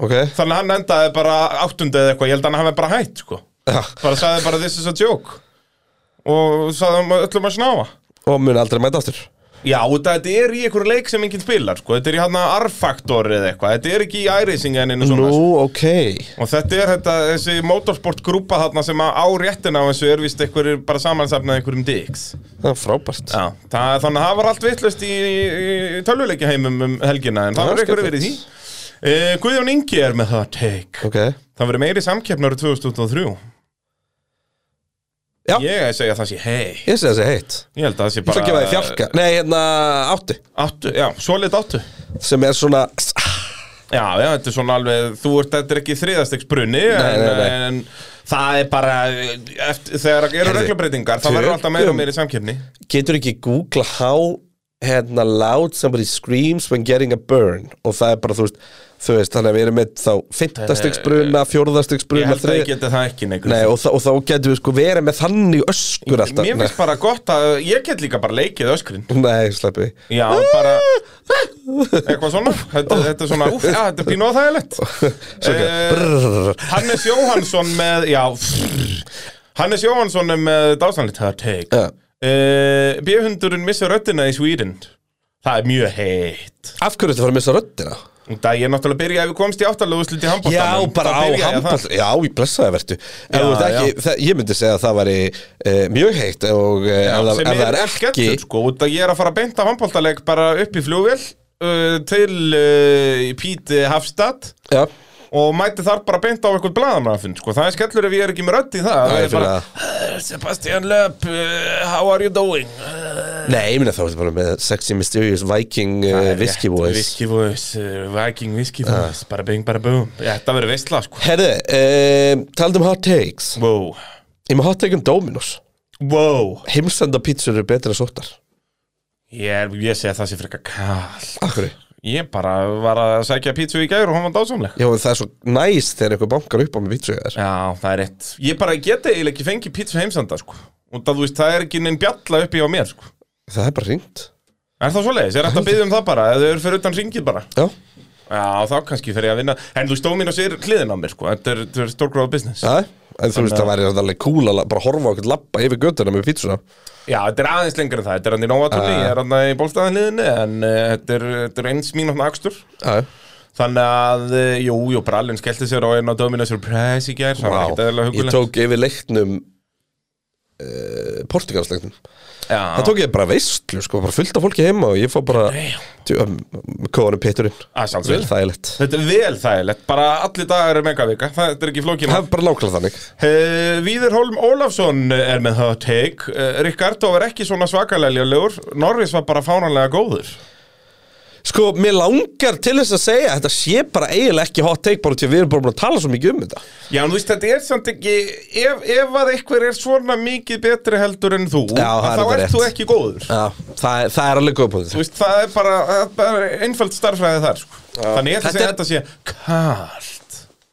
ok Þannig að hann endaði bara áttundi eða eitthvað, ég held að hann hafi bara hætt, sko. Já. Bara sagði bara this is a joke. Og sagði hann öllum að snáfa. Og mun aldrei mæta aftur Já, út af þetta er í einhverju leik sem enginn spilar, sko. Þetta er í hann að R-faktor eða eitthvað. Þetta er ekki í iRacing en einu svona. Nú, sko. ok Og þetta er þetta, þessi motorsport grúpa þarna sem á réttina á þessu er vist einhverjir bara samansafnað einhverjum dicks. Það er frábært Já, það, þannig að það var allt vittlust í, í, í tölvuleiki heimum um helgina en það Já, var einhverju verið í því. skemmtilegt. Uh, Guðjón Ingi er með það take. Ok Það verið meiri samkeppnar 2023 Já. Ég að segja það sé hei Ég segi þessi heitt Ég held að það sé Ég ætla bara að gefa þið fjarka Nei, hérna, átti Áttu, já, svoleitt áttu Sem er svona Já, já, þetta er svona alveg Þú ert, þetta er ekki þriðastegs brunni en, nei, nei. en það er bara eftir, Þegar eru Heyrðu, reglubreitingar Það verður alltaf meira og meira í samkeppni Getur ekki Google how Hérna, loud somebody screams when getting a burn Og það er bara, þú veist Þú veist, þannig að við erum með þá Fyntastegsbruna, Ég fjórðastegsbruna held að ég geti það ekki neikur Nei, og, þa og þá getum við sko verið með þannig öskur alltaf Mér finnst bara gott að Ég get líka bara leikið öskrin Nei, Nei, sleppi Já, bara Eitthvað svona Þetta, Oh. þetta er svona, úf, já, þetta er pínu áþægilegt Svo ekki Eh, Brrrr. Hannes Jóhansson með já, Hannes Jóhansson er með dásanlít það er teik Já. yeah. Eh, B-hundurinn missir röddina í Sweden það er mjög heitt Af hverju þetta var að missa röddina? það er náttúrulega byrja ef við komst í áttalöguslut í Já, handbóltanum bara á handball Já, í blessaði vertu Já, ekki, það, Ég myndi segja að það væri uh, mjög heitt og uh, ef, það, ef það er ekki sko, út að ég er að fara að beinta handbóltaleg bara upp í flugvél uh, til uh, Píti Hafstad Já, og mæti þar bara beint á eitthvað blaðamannafund sko. það er skellur ef ég er ekki með rödd í það það það er er bara, Sebastian Löp uh, how are you doing uh, Nei, ég myndi þá er þetta bara með Sexy Mysterious Viking uh, Whiskey Boys Whiskey Boys, uh, Viking Whiskey Boys Bara bing, bara boom Já, Þetta verður veistla, sko Herðu, um, talandi um hot takes Wow Ég með hot take um Dominos Wow Heimsenda pítsur eru betri en sóttar Ég, er- ég segi að það sé frekar kall Akkurri Ég bara var að sækja pítsu í gær og hún var dásamleg Já, en það er svo næst þegar einhver bankar upp á með pítsu þér Já, það er rétt Ég bara geti eiginlega ekki fengið pítsu heimsenda, sko Og það, þú veist, það er ekki neinn bjalla uppi á mér, sko Það er bara ringt Er það svoleiðis? Er þetta að byggja um það bara? Eða þau eru fyrir utan ringið bara? Já, Já, þá kannski fer ég að vinna En þú stóð mín og sér hliðin á mér, sko Þetta er, þetta er stórgróða business já En þú veist, það væri þetta alveg cool að la- bara horfa á okkur lappa yfir göttuna með pítsuna Já, þetta er aðeins lengur en það, þetta er hann í Nóatúni, ég er hann í bólstaðanliðinni, en uh, þetta, er, þetta er eins mínútna akstur. Já, Þannig að, uh, jú, jú, brallin skellti sér á einn á Domino Surprise í gær, það var ekkert eðlilega Ég hugulegt. tók yfir leiknum uh, Portugalsleiknum Já, Það tók ég bara veistlu, sko, bara fullt af fólki heima og ég fór bara Kóðanum Peturinn að um, Vel sjálfsögðu. þægilegt Þetta er vel þægilegt, bara allir dagar er megavika, þetta er ekki flókið Það mál. er bara nákvæmlega þannig Uh, Víður Holm Ólafsson er með það að teik, uh, Ricardo var ekki svona svakalega ljóður, Norris var bara fánanlega góður. Sko, mér langar til þess að segja að Þetta sé bara eiginlega ekki hot take bara til að við erum bara búin að tala svo mikið um þetta Já, en þú veist, þetta er samt ekki ef, ef að einhver er svona mikið betri heldur en þú Já, það að er þá þetta ert rétt. þú ekki góður Já, það, er- það er alveg góð búin Þú veist, það er bara, það er einfald starfræði þar sko. Þannig ég ætla að segja að þetta sé kallt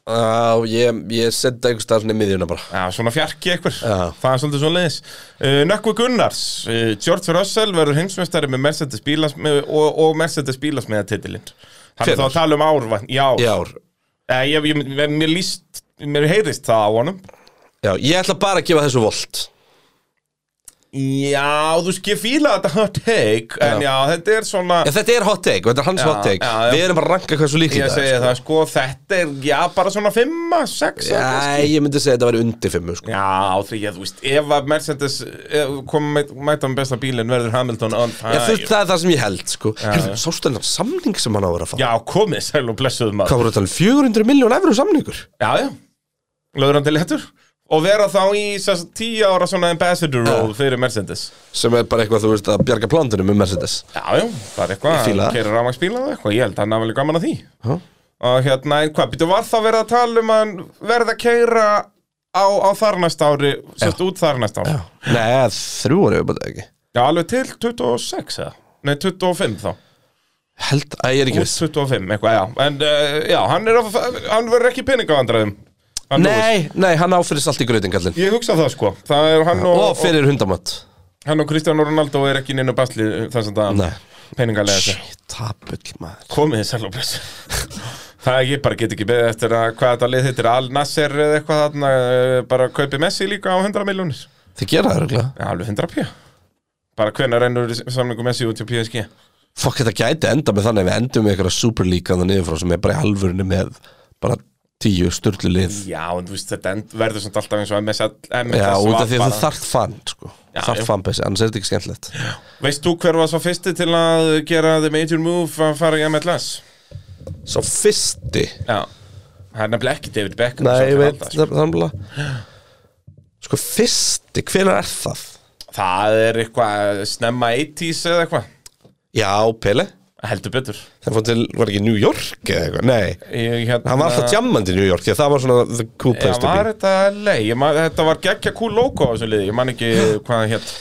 Já, ég, ég senda einhvers staðar svona í miðjuna bara Já, svona fjarki einhver, Já. það er svolítið svona leðis uh, Nökkvi Gunnars, uh, George Russell verður heimsmeistari með Mercedes bílas með, og, og Mercedes bílas með titilinn Hann er Hvenær? þá að tala um árvann, já, Í ár Eh, ég, ég, mér líst, mér heyrist það á honum Já, ég ætla bara að gefa þessu volt Já, þú skil fíla þetta hot take En já, þetta er svona Já, þetta er hot take, og þetta er hans Já, hot take já, já. Við erum bara að ranka hversu líklega Ég segi það, sko, þetta er Já, bara svona 5, 6 Já, ég myndi segja að þetta væri undir fimmu sko. Já, því að þú veist, ef að Mercedes ef kom mæ- mæta með besta bílinn verður Hamilton on Já, þú, fire það er það sem ég held sko. Já, Hérðu, já. sástu þennan samning sem hann á að vera að fá Já, komið sæl og blessuð Hvað maður voru að tala um 400 miljón efru samningur? Já, já, löður hann til léttur Og vera þá í sess, 10 ára svona ambassador role fyrir Mercedes Sem er bara eitthvað, þú veist, að bjarga plándunum um Mercedes Já, já, það er eitthvað, Ég fíla það. hann keirir rámaksbíla og eitthvað, ég held að hann hafa alveg gaman að því Já. Og hérna, en hvað, býttu var það verið að tala um að hann verða að keira á, á þar næsta ári, sérst út þar næsta ári Já, Nei, eða þrjú orðið við bara ekki alveg til 26 eða, nei 25 þá Held að ég er ekki Út viss 25, eitthvað, já En uh, já, hann, er, að- hann verður ekki peningavandræðum Hann Lewis. Nei, nei, hann áfyrir allt í gröðin kallinn Ég hugsa það sko Það er hann og, Og fyrir hundamat og hann og Kristján Ronaldo er ekki neina basli eh, þess að Nei. það peningalega þessi Tapull maður Komið þið sæl og bless Það er ég bara get ekki beðið eftir að hvað þetta lið hittir Al Nasser eða eitthvað þarna eh, bara kaupi Messi líka á 100 miljónir Þið gera það örgulega Já, alveg 100 pjö Bara hvenær rennur samlingu Messi út til PSG Fokk, þetta gæti enda með þannig að við endum með eitthvað superlíkaða niður frá sem er bara í halvurinu með bara tíu sturlu lið Já, en þú veist þetta end, verður samt alltaf eins og MSL MSL Já, út af því að var bara- þú þarft fan sko. Já, já. Þarft fanbase, annars er þetta ekki skemmtilegt Veist þú hver var svo fyrsti til að gera the major move að fara í MLS? Svo fyrsti Já Það er nefnilega ekki David Beckham Nei, sem ég fer veit, alltaf, sko. það er bara Sko, fyrsti, hvenær er það? Það er eitthvað snemma 80s eða eitthvað Já, Pele Heldur betur Það fór til, var ekki New York eða eitthvað, nei ég, hérna, Hann var alltaf jammandi í New York, því að það var svona the cool Já, place to var be þetta lei man, Þetta var geggja cool logo á þessu liði Ég man ekki hvað það hétt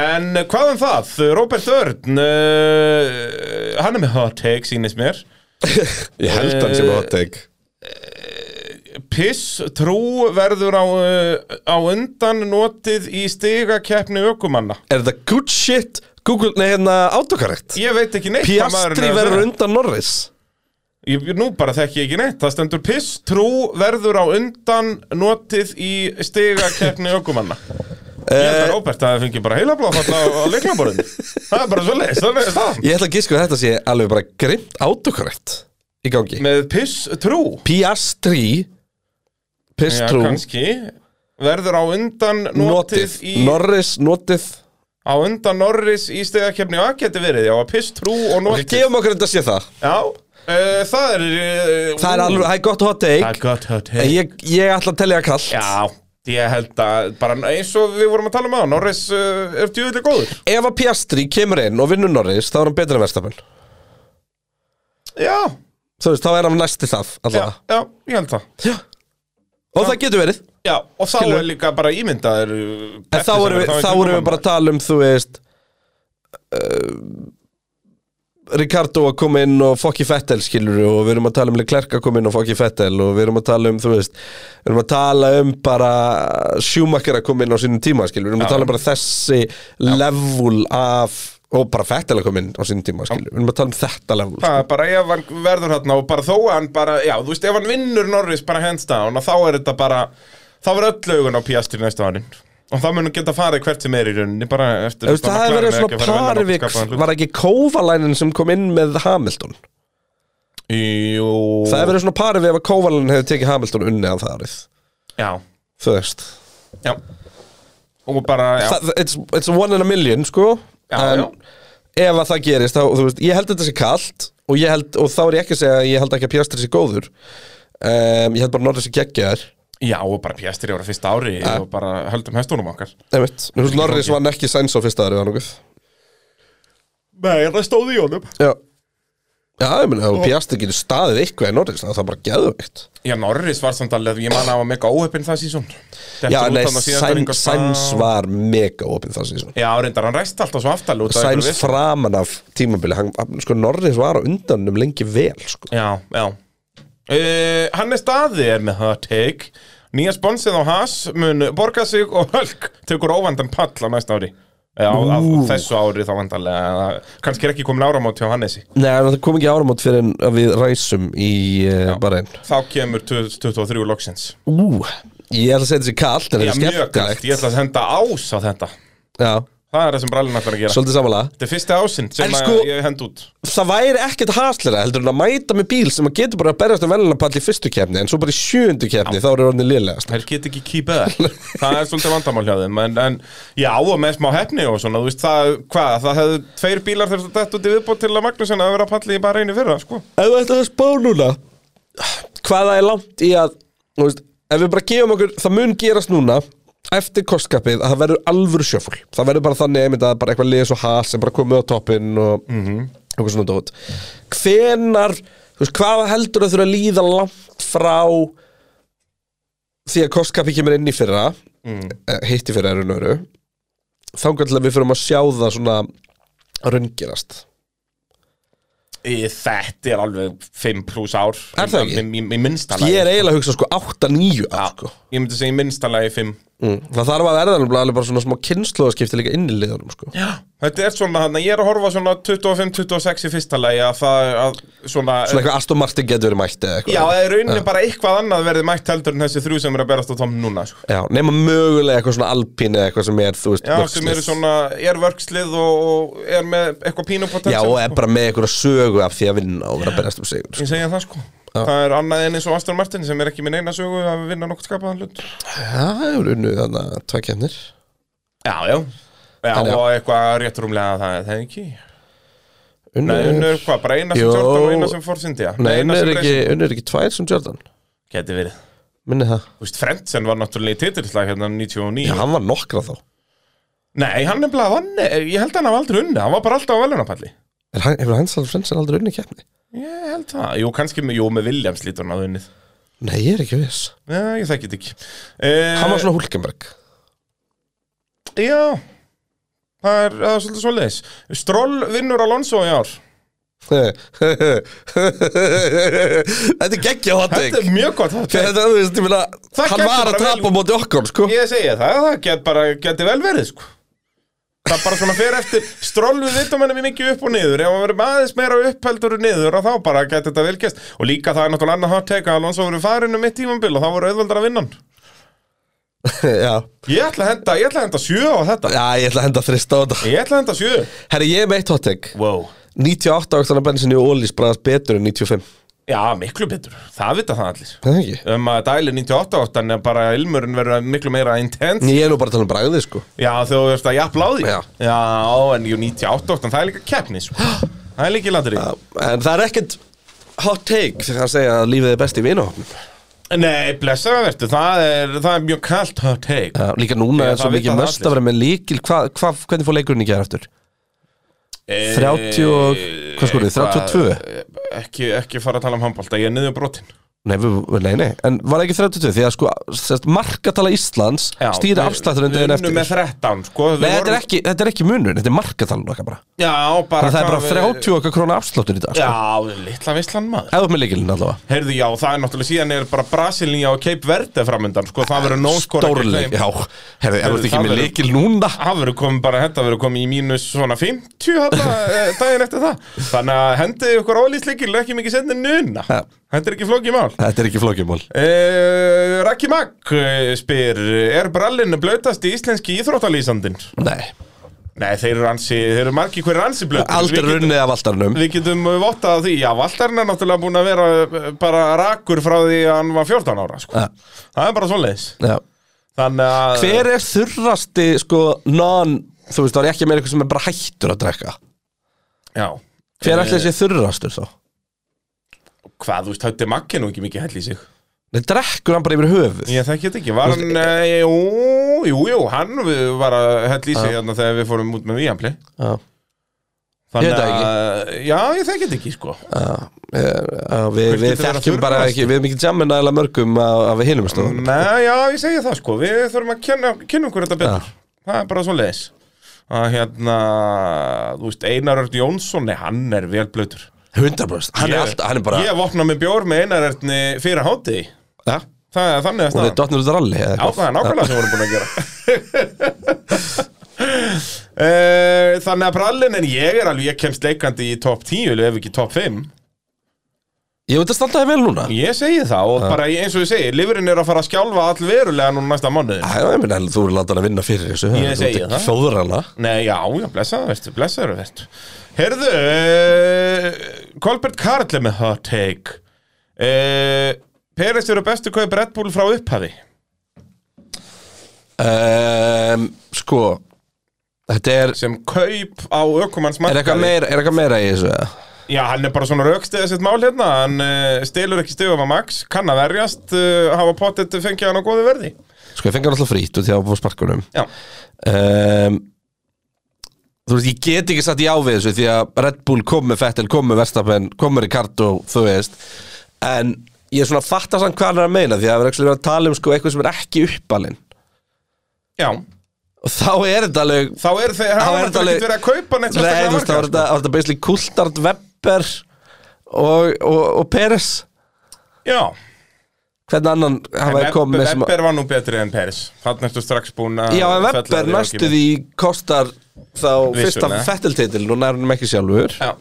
En hvað um það? Robert Örn uh, Hann er með hot take, sýnist mér Ég held hann Eh, sem hot take Piss trú verður á, uh, á undan notið í stigakeppni ökumanna Er það good shit, Google, nei hérna, autocorrect Ég veit ekki neitt hvað maðurinn Piastri er að verður segja. undan Norris Ég, nú bara þekki ég ekki neitt, það stendur piss, trú, verður á undan, notið í stigakeppni ökumanna. Ég Eh, held að Róbert að það fengi bara heilablóð þarna á, á leiklaborðinu. Það er bara svo leiðis, það er það. Ég ætla að gíska að þetta sé alveg bara grimt autocorrect í gangi Með piss, trú. Piastri Já, Pistrú kannski. Verður á undan, notið Notið, í, Norris, notið á undan Norris í stigakeppni. Það geti verið, já, að piss, trú og Ok, notið. gefum okkur þetta sé það Já, uh, það er... Uh, Það er alveg, það er gott hot Það er take gott, hot En take. ég, ég ætla að telja það kallt Já, ég held að bara eins og við vorum að tala um á, Norris uh, er djúvillig góður. Ef að Piastri kemur inn og vinnur Norris Þá er hann betur en verðstafn Já, Þú veist, þá er hann næsti það já, allavega. já, ég held það Og það getur verið Já, og þá Skilur. er líka bara ímyndaður eh, En þá erum við, þá erum við bara að tala um, þú veist uh, Ricardo að koma inn og fokki Fettel skilur og við erum að tala um Leclerc að koma inn og fokki Fettel og við erum að tala um, þú veist við erum að tala um bara Schumacher að koma inn á sínum tíma skilur við erum að tala um bara þessi level af og bara Fettel að koma inn á sínum tíma skilur við erum að tala um þetta level Það er bara ef hann verður hérna og bara þó að hann bara, já, þú veist, ef hann vinnur Norris bara hands down og þá er þetta bara þá verður öll augun á Piastri næsta árin og þá munum geta farið hvert sem er í rauninni bara eftir Þú veist, það hefur verið svona parvik var ekki Kovalænin sem kom inn með Hamilton Jú það hefur verið svona parvik ef að Kovalænin hefur tekið Hamilton unni af það árið Já, þú veist já Og bara, já, Þa- it's, it's a one in a million sko Já, en já. ef að það gerist þá, þú veist, ég held þetta sé kallt og, ég held, og þá er ég ekki að segja að ég held ekki að Piastri sé góður um, ég held bara að Norris sé geggjaður já, og bara Piastri var á fyrsta ári Ah. og bara höldum hestunum okkar Einmitt. Þú veist, Norris vann ekki sæns á fyrsta aðri Nei, það stóði í honum já Já, ég meina, ef Piastri getur staðið eitthvað í Norris þá er það bara geðvægt Já, Norris var samt alveg, ég man að hann var mega óheppin það sísón Já, nei, sæns, sæns Ah. var mega opið það síðan Já, reyndar, hann ræst alltaf svo aftal út af einhverju Sæns vissu. framan af tímabili hann, hann- sko, Norris var á undanum lengi vel sko. Já, já uh, Hann er staði er með hot take Nýja sponsið á Haas mun borga sig og hölk Tekur óvandan pall á næsta ári Já, á Ú. þessu ári þá vandarlega Kannski er ekki komin áramót hjá Hannesi Nei, en það kom ekki áramót fyrir en við ræsum í uh, bara einn Þá kemur 2023 loksins Ú, Ég ætla að setja þessi kallt, en Já, þetta er mjög kallt, skemmtilegt ég ætla að senda ás á þetta Já, Það er það sem brallin ætlar að gera svolítið samanlega Þetta er fyrsta ásinn sem En að sko- ég hend út Það væri ekkert haslera heldur en að mæta með bíl sem að getur bara að berjast um velunarpall í fyrstu kefni en svo bara í sjöundu kefni þá eru orðin liðlegast Þeir get ekki keep up Það er svolítið vandamál hjá þeim en, en já, og með smá hefni og svona Þú veist það, hvað, það hefðu tveir bílar þurft að dætt út í viðbót til að Magnúsin að vera að palli í bara einu fyrra, sko Ef við ætlum að spá núna Hvaða er langt í að þú veist, Ef við bara gefum okkur, það mun gerast núna Eftir kostkapið að það verður alvöru sjöful Það verður bara þannig einmitt að bara eitthvað liðs og has sem bara komið á toppinn og eitthvað svona dót Hvenar, þú veist, hvað heldur að þurfa að líða langt frá því að kostkapið kemur inn í fyrra mm. hitti fyrra er unnöru þangar til að við fyrir að sjá það svona raungerast Í, Þetta er alveg 5 pluss ár Er það ekki? Í, í, í minnsta Ég lagi er eiginlega að hugsa sko 8-9 ár sko Ég myndi segja í minnsta lagi 5 Mm. Það þarf að verða nefnilega alveg bara svona smá kynnslóðaskipti líka inn í liðunum sko. Já Þetta er svona, þannig að ég er að horfa á svona 25-26 í fyrsta lagi að það, að svona, Svona eitthvað Aston Martin getur verið mætt eða eitthvað Já, e- það er rauninni bara eitthvað annað verði mætt heldur en þessi þrjú sem er að berast á tom núna sko. Já, nema mögulega eitthvað svona alpín eða eitthvað sem er, þú veist, Já, vöxlið. sem eru svona, er vörkslið og, og er með eitthvað pínu potential Já, og er bara með eitthvað sögu af því að vinna og vera að berjast um sigur sko. Ég segja það sko Það er annað en eins og Aston Martin sem er ekki minn eina sögu að vinna nokkuð skapaðan hlut Já, það er unnið þannig að tvær kefnir Já, já Já, Þannig, já. og eitthvað rétt rúmlega það, það er ekki Nei, Unnið unnur hvað, bara eina sem Jó. Jordan og eina sem Forsyndi Nei, unnið er ekki, unnið er ekki tvær sem Jordan Geti verið Minni það Þú veist, Frentsen var náttúrulega í titilslag hérna 99 Já, hann var nokkra þá Nei, hann er bara, hann, ég held að hann hafa aldrei unnið Hann var bara alltaf á velunapalli Er hann, hefur hans alveg frends aldrei unnið kefni? Ég held það, jú, kannski með, jú, með Williams lítur hann að unnið Nei, ég er ekki viss Já, ég þekki þetta ekki eh, Hann var svona Hulkenberg Já, það er, það er svolítið svoleiðis Stroll vinnur Alonso í ár Þetta er geggja hot take Þetta er mjög gott Fyrir hot take. þetta, þú veist, ég meina, Það hann gæti var að bara tapa vel- móti okkur, sko Ég segja það, það get bara, geti vel verið sko Það er bara svona fyrir eftir Stroll við vitum henni mikið upp og niður Ef hann verið aðeins meira uppheldur og niður og þá bara geti þetta vel gest Og líka það er náttúrulega annað hot take að Alonso verið farin um mitt tímambil og það voru auðvöldar að vinna hann Já, Ég ætla að henda, ég ætla að henda sjö á þetta já ég ætla að henda þrista á þetta Ég ætla að henda sjö Herri, ég er meitt hotteg Wow 98 ákstana bensin í Ólís bræðast betur en 95 Já, miklu betur, það vita það allir Það er ekki Um að dæli 98 en bara ilmurinn verður miklu meira intense Ég er nú bara að tala um bræðið, sko Já, þú veist að jafnla á því Já. en jú, 98, en það er líka keppni sko. Það er líka landri Já, En það er ekkert hot take þegar hann segja að lífið er best í vinahopnum Nei, blessaða verður, það er, það er mjög kalt hot take Já, Líka núna Já, er svo það vita mikið það möst allir. að vera með líkil hva, hva, Hvernig fór leikurinn í gera aftur? Eh, 30 og- hvað skoruðu, eitthvað- 32? Eh, Ekki, ekki fara að tala um handbólta, ég er niður brotin Nei, við, nei, nei, en var ekki 32 Því að sko, sérst, markatala Íslands stýra afslætturinn daginn Við eftir unnum með 13, sko við Nei, þetta er vorum- ekki, þetta er ekki munur, þetta er markatalan okkar bara Já, Þannig bara að það er bara hvað við- 30 okkar krónu afsláttur í dag sko. Já, litla vislan maður Eða upp með leikilinn allavega Heyrðu, já, það er náttúrulega síðan er bara Brasilinja og Cape Verde framöndan, sko, það verður nóskora Stórleik, já Herði, ef þú Heyrðu, ert ekki það með verður- leikil núna Það verður komið bara, þetta verður komið í mínus svona 50 hana, daginn eftir það Þannig að hendið ykkur ólýsleikil ekki mikið sendið nuna Ja. Þetta er ekki flókið mál Þetta er ekki flókjumál uh, Raki Magg eh, spyr Er brallin blöytast í íslenski íþróttalýsandinn? Nei, Nei, þeir eru ansi, þeir eru margi hver ansi blöytast aldrei runnið af aldarnum Við getum eh, vottað því, já, Valdarinn er náttúrulega búin að vera eh, bara rakur frá því að hann var 14 ára, sko Ja. Það er bara svoleiðis Já. Þannig að Hver er þurrasti, sko, non Þú veist, það er ekki með eitthvað sem er bara hættur að drekka Já Eh, Hver ætli þessi þurrastur þá? Hvað, þú veist, hætti Maggi nú ekki mikið hell í sig Nei, drekkur hann bara yfir höfuð Ég þekki þetta ekki, var hann, eh, jú, jú, jú, hann við- var að hella í sig hérna þegar við fórum út með Víampli Já. Ég veit það að, já, ég þekki þetta ekki, sko Já, Eh, Við, við getur verið þekkjum bara þurrastur? Mm. ekki Við erum ekki jammin aðeins mörgum af, af hinum stofan Nei, já, ég segi það, sko, við þurfum að kenna, kenna okkur þetta betur Það er bara svo leiðis Að hérna, þú veist, Einar Örn Jónsson, nei, hann er vel blöytur 100% Hann er Ég- alltaf, hann er bara Ég vopna með bjór með Einar Örni fyrir hátti Já. Það er þannig að Hún er staðan dottnur út af ralli eða Já, eitthvað. það er nákvæmlega sem við vorum búin að gera Eh, Þannig að brallin en ég er alveg, ég kemst leikandi í topp 10 ef ekki topp 5 Ég veit að standa það vel núna Ég segi það og bara eins og ég segi, lifurinn er að fara að skjálfa all verulega núna næsta mánuðin. Já, ég meina, þú er látað að vinna fyrir þessu Ég segi það. Þjóðrana Nei, já, já, blessaður, veistu, blessaður, veistu Herðu, uh, Kolbert Karl er með hot take uh, Peres eru bestu kaup Red Bull frá upphafi um, Sko Þetta er sem kaup á ökumanns Er eitthvað meira, er eitthvað meira í þessu? eða? Já, hann er bara svona raukstið sitt mál hérna hann uh, stelur ekki stegum að Max kann að verjast, uh, hafa pottet fengið hann á góðu verði Sko, ég fengi hann alltaf frýtt og því að hann fór sparkunum Já, um, Þú veist, ég get ekki satt í ávið þessu því að Red Bull kom með Fettel, kom með Verstappen, kom með Ricardo, þú veist En ég er svona að fatta samt hvað hann er að meina því að það er ekki verið að tala um sko eitthvað sem er ekki uppalinn já, Og þá er þetta alveg þá er þeir Þá hann er þetta er ekki alveg verið að kaupa neitt Nei, sérstaklega þú veist, þá marga, er þetta þá er þetta basically Kultard, Webber og, og, og Peres sko. Já, Hvernig annan hafa þeir komið með sem að Webber var nú betri en Peres Þannig ertu strax búin að Já, en fella þig Webber á næstu gimmið. því kostar þá fyrsta Vissulega. fettiltitil og nærnum ekki sjálfur Já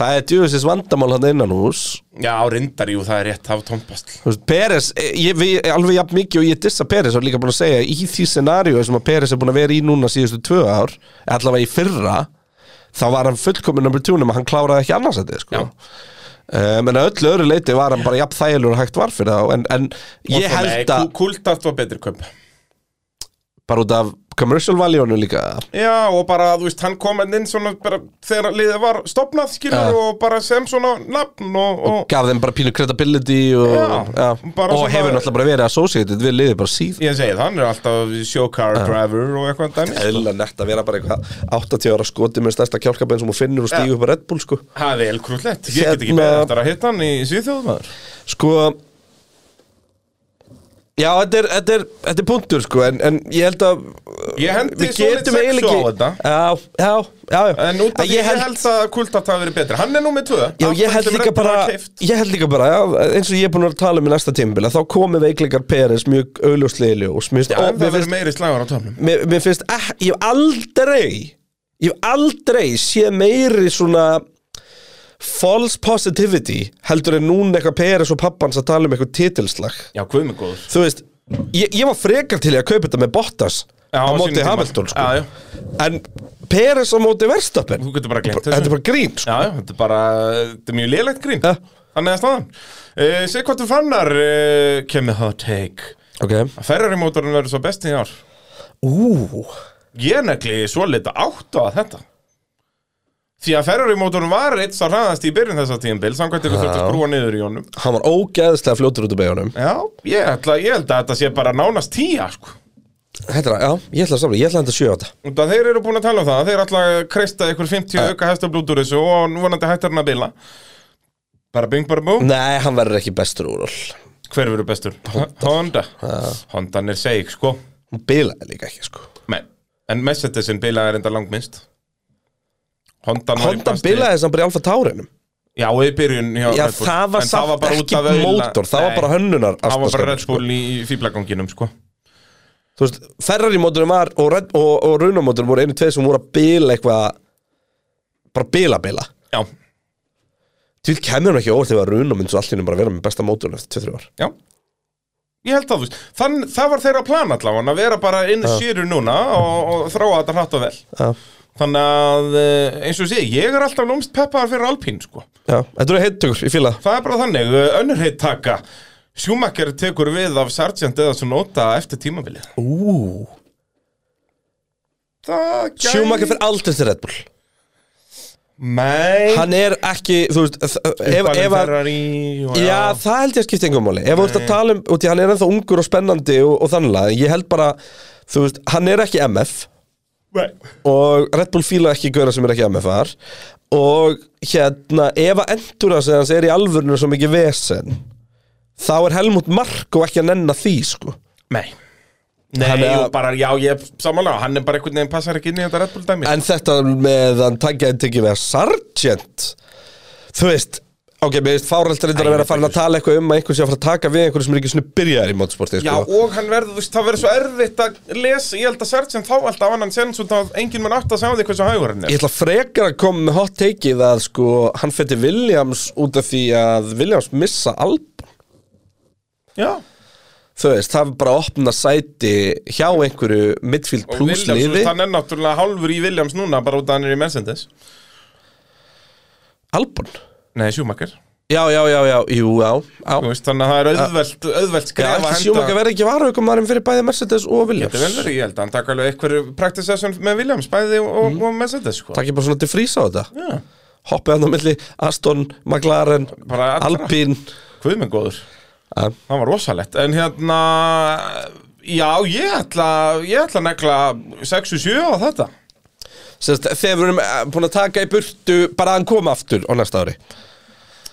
Það er djúðisins vandamál hann innan hús Já, reyndar, jú, það er rétt, það var tómpast Þú veist, Peres, eh, ég við alveg jafn mikið og ég dissa Peres og líka búin að segja í því scenaríu sem að Peres er búin að vera í núna síðustu tvö ár allavega í fyrra þá var hann fullkomin number two nema hann kláraði ekki annars þetta sko. Já. um, en að öllu öðru leiti var hann bara jafn þægilegur og hægt var fyrir þá en, en ég held að Kultart eh, var betri kaup bara út af commercial value-unu líka Já, og bara, þú veist, hann kom enn inn svona bara þegar liðið var stopnað, skilur og bara sem svona nafn og, og gaf þeim bara pínu credibility og, Já, já, bara og svona- hefur náttúrulega bara verið associated við liðið bara síðan ég segi það, hann er alltaf showcar driver og eitthvað dæmi eðla nett að vera bara eitthvað 80 ára skoti með stærsta kjálkabenn sem hún finnur og stígur upp að Red Bull sko Það er elkrúllett, ég get ekki Hérna- beðið eftir að hitta hann í Svíþjóðmaður sko já, þetta er, þetta er, þetta er punktur sko en, en ég held að Ég hendi við solid getum sexu eiginlega á þetta. já, já, já, já. En út af því ég ég held að Kultart hafi verið betri Hann er nú með tvö Já, Allt ég held sem líka Red Bull bara, var keypt. ég held líka bara já, eins og ég er búin að vera að tala um í næsta tímbil þá komið veikleikar Peres mjög augljóslega í ljós Mér finnst- En og mér Það finnst verður meiri slagur á tómnum mér, mér finnst, eh, ég hef aldrei ég hef aldrei séð meiri svona false positivity heldur en núna eitthvað Peres og pappans að tala um eitthvað titilslag Já, guðmi góður þú veist, ég, ég var frekar til í að kaupa þetta með Bottas á Já, á sínum móti tíma. Hamilton sko. Já, já. en Peres á móti Verstappen Þú getur bara glemt þetta er bara grín sko. Já, já, þetta er bara, þetta er mjög lélegt grín Ja. Þannig að staðan uh, Sigvartur Fannar uh, kemur hot take okay. Ferrari-mótorin verður svo besti í ár Ú, Ég er negli svo lita átt á þetta Því að Ferrari-mótorin var eitt sá hraðast í byrjun þessa tíðinbil Samkvæmt ykkur þurfti að skrúa niður í honum hann var ógeðslega fljótur út af beigjónum Já, ég, ætla, ég held að þetta sé bara nánast tíja sko. Þetta er, já, ég ætla að samla, ég ætla að henda sjö á þetta Út að Þeir eru búin að tala um það Þeir ætla að kreista ykkur 50 auka hestablút úr þessu Og nú vonandi hættar hann að bila Bara bing, bara bú Nei, hann verður ekki bestur úr all Hver verður bestur? Honda Hondan er seig, sko Hún bilaði líka ekki, sko Men, En Mercedesin bilaði er enda langminnst Hondan var í Honda plasti. bilaði þess að bara í Alfa Taurinum Já, og í byrjun hjá Já, Red Bull. það var En samt bara út ekki af auðla- mótor, það var Nei, bara hönnunar Það var bara aftaskapur, Red Bull í í fíblaganginum, sko Þú veist, Ferrari-mótorum var og, Red- og, og Runamótorum voru einu tveið sem voru að bila eitthvað bara bila bila Já, Til kemur hann ekki á óvart ef að Runamund svo allt í einu bara vera með besta mótorun eftir 2-3 ár já Ég held það, þú veist Þann, Það var þeirra plan allavega að vera bara inn í sýru núna og, og þráa þetta hratt og vel Já, Þannig að, eh, eins og sé, ég er alltaf lúmst peppaðar fyrir Alpín, sko já, þetta eru heittökur, ég fíla það. Það er bara þannig, eh, önnur heitt taka Schumacher tekur við af Sargent eða svo nota eftir tímabilið Ú, Það gæ... Schumacher fyrir aldrei til Red Bull Nei Hann er ekki, þú veist þ- ef, Uppalinn ef að, Ferrari og Já, það held ég að skipta engum máli Ef þú ert að tala um, og því hann er ennþá ungur og spennandi og, og þannlega, ég held bara þú veist, hann er ekki MF Nei. og Red Bull fíla ekki gauðra sem er ekki MFR og hérna ef að endurans hans er í alvörinu svo mikið vesen þá er Helmut Marko ekki að nenna því sko Nei Nei, Hann er- jú, bara, já, ég samanlega Hann er bara einhvern veginn passar ekki inn í þetta Red Bull dæmi en þetta með að hann tækja einn tekið við að Sargent þú veist Ok, mér finnst fáralt reyndar að vera farin að tala eitthvað um að einhvern sé að fara að taka við einhverjum sem er ekki svona byrjaðir í motorsporti Já, sko. og hann verður, þú veist, það verður svo erfitt að lesa, ég held að Sergeant þá alltaf annan sen svo að enginn mun átt að segja því hversu hægur hann Ég er. ætla frekar að koma með hot takeið að sko, hann fætti Williams út af því að Williams missa alp Já, Þú veist, það er bara að opna sæti hjá einhverju midfield og plus Williams, þú liði veist, hann er náttúrulega hálfur í Williams núna bara út að hann er í Mercedes. Albon Nei, Schumacher. Já, já, já, já, jú, já, já. Þú veist, þannig að það er auðvelt, Já, auðvelt skref að ekki henda- sjúmak að vera ekki varaukumarum fyrir bæði Mercedes og Williams Þetta er vel verið, ég held að hann taka alveg eitthvað practice session með Williams, bæði og, Mm. og, og Mercedes, sko. Takk ég bara svona til frýsa á þetta Já, Hoppið hann á milli Aston, McLaren, bara allra. Alpine Guð minn góður. Já, Það var rosalegt, en hérna, já, ég ætla, ég ætla að negla 6-7 á þetta. Sem sagt, Þegar við erum eh, búin að taka í burtu bara að hann koma aftur á næsta ári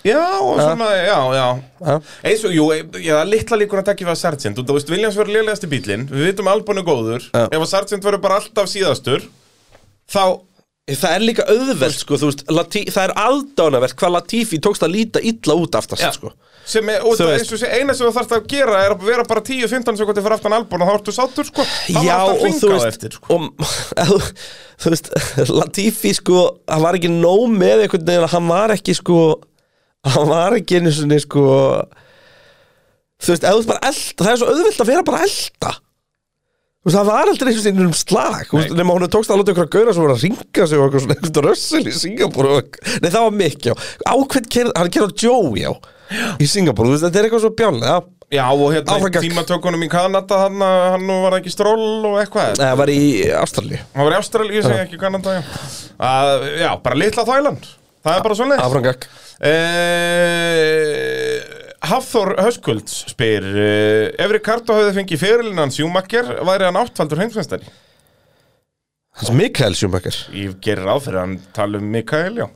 Já, og svona, já, já. Já. Eins og, jú, ég það er litla líkur að tekja við að Sargent, og þú veist, Williams verður lélegast í bílinn, við vitum albúinu góður, Já. ef að Sargent verður bara alltaf síðastur, þá, Það er líka auðvelt, sko, þú veist Lati, Það er aðdánavert hvað Latifi tókst að líta illa út aftast, Já. sko sem er, og Þú það er veist. eins og sé, eina sem þú þarfst að gera er að vera bara 10-15 sekundi fyrir aftan albúinu, þá ertu sáttur, sko, þá Já, ertu að og þú hringa á veist, eftir, sko. og, þú veist Latifi, sko, hann var ekki nóg með einhvern veginn að hann var ekki, sko hann var ekki einu sinni, sko þú veist, ef þú ert bara elda það er svo auðvelt að vera bara elda þú veist, það var aldrei einu sinni um slag þú veist, nema hún tókst að láta ykkur að gauðra sem voru að ringa sig og eitthvað svona eitthvað rössil í Singapur og, nei, það var mikið, já, ákveð kerð, hann kerði á Joey, já, í Singapur þú veist, þetta er eitthvað svo bjánlega, já Já, og hérna Áfram í gakk. tímatökunum í Kanada, hann, hann nú var ekki stról og eitthvað. Nei, það var í Ástralíu Það var í Ástralíu, ég segi ekki Kanada, já. Að, já, bara litla þvælan. Það er bara svona. Afrangak Uh, Hafþór Höskulds spyr uh, Ef Ricardo hafði fengið fyrirlinn hans Júmakker, væri hann áttfaldur heimsveistari? Hans Mikael Schumacher Ég gerir ráð fyrir að hann tala um Mikael, já.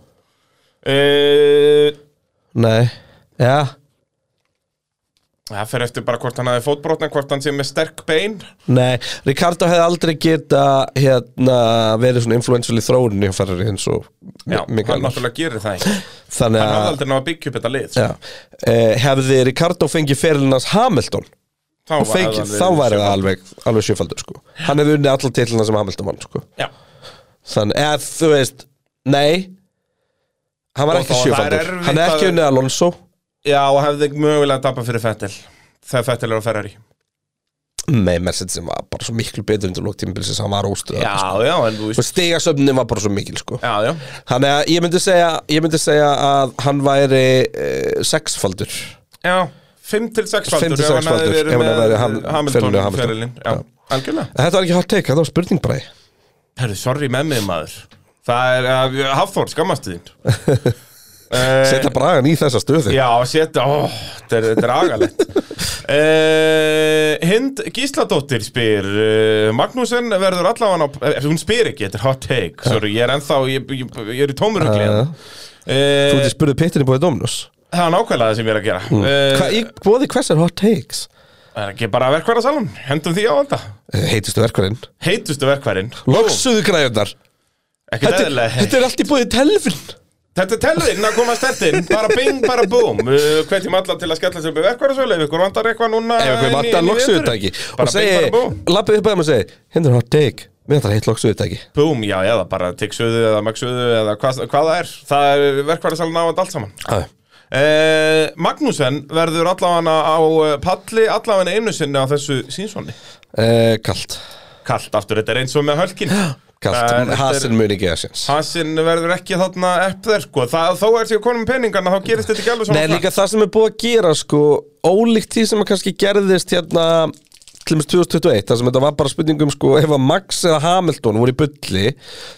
Uh, Nei Já það fer eftir bara hvort hann hafi fótbrotna, hvort hann sé með sterk bein. Nei, Ricardo hefði aldrei geta hérna, verið svona influential í þróuninni og ferri eins og Já, Mikael. hann náttúrulega gerir það ekki. Þannig Hann hafði að aldrei ná að byggja upp þetta lið. sko. já, e, hefði Ricardo fengið ferilnans Hamilton Þá, og fengið, þá væri það alveg, alveg sjöfaldur sko. Hann hefði unnið allar titlina sem Hamilton vann sko. Já. Þannig að þú veist, nei Hann var Og ekki þá- það er sjöfaldur erfitt Hann er ekki að- unnið Alonso Já, og hefði mögulega að tapa fyrir Fettel þegar Fettel er á Ferrari Nei, Mercedes var bara svo miklu betur undir lóktímbilsins, hann var óstuð Já, já, en þú veist Stigasöfnin var bara svo mikil sko. Já, já, Þannig að ég myndi segja, ég myndi segja að hann væri uh, sexfaldur já 5 til 6 Fimm faldur til sex faldur, ef hann hefði verið Ham- Hamilton Hamilton. Hamilton Já, algjörlega En Þetta var ekki hot take, þetta var spurning bara Herru, sorry með mig maður Það er, uh, Hafþór, skammastu þín Eh, Setta bragan í þessa stöðu Já, setja, ó, þetta er, þetta er agalegt uh, Hind Gísladóttir spyr uh, Magnúsen verður allavega á, eh, Hún spyr ekki, þetta er hot take Sorry, ég er ennþá, ég, ég, ég er í um tómurugli Já, já. Þú uh, ert að spurði pittinni búið Dominus Það er nákvæmlega það sem ég er að gera Hva, mm. í, Bóði hvers er hot takes? Það er ekki bara verkværa salun, hendum því á alltaf Eh, Heitustu verkurinn Heitustu verkværin Loksuðu græðunar Ekki þetta, eðlilega heitt þetta er allt í búið telfin Þetta er telurinn að koma stertinn Bara bing, bara búm uh, Hvetjum alla til að skella sér upp í verkværa sölu Ef ykkur vantar eitthvað núna Ef inn einhver í- inn vantar í loksuðu veturinn. tæki Og Bara bing, segi, bara búm lappið upp að þeim og segi Hérna er hot take, mér þetta heitt loksuðu tæki Búm, já, eða bara tikksuðu eða magsuðu eða hvað, hvað það er Það er verkværa salun á þetta allt saman uh, Magnúsen verður allavega á eh, palli Allavega einu sinni á þessu sínsvonni uh, Kalt, Kallt aftur, þetta er eins og með hölkin Það kalt, Eh, er- hasin muni ekki að séns Hansinn verður ekki þarna epp þér sko það, Þó er sér konum peningana þá gerist þetta ekki alveg svona Nei, líka það sem er búið að gera sko, ólíkt því sem að kannski gerðist hérna til og með 2021, þar sem þetta var bara spurningum sko, ef að Max eða Hamilton voru í bulli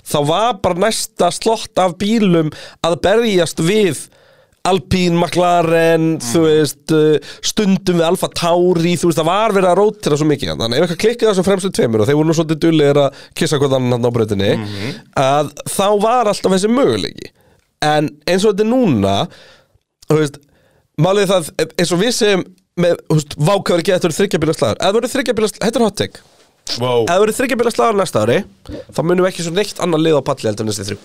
þá var bara næsta slott af bílum að berjast við Alpine, McLaren, þú veist, uh, stundum við Alfa Tauri, þú veist, það var verið að rótira svo mikið. hérna. Þannig ef eitthvað klikkið þessum fremstu tveimur og þeir voru nú svolítið dullir að kissa hvað annan hann á breytinni, að þá var alltaf þessi möguleiki. En eins og þetta er núna, þú veist, málið er það eins og við segjum með, þú veist, vákaður ekki að þetta eru þryggjabíla slagur eða það eru þryggjabíla slagur, þetta er hot take eða wow. það eru þryggjabíla slagur næsta ári þá munum við ekki svo neitt annar lið á palli heldur en þessi þrjú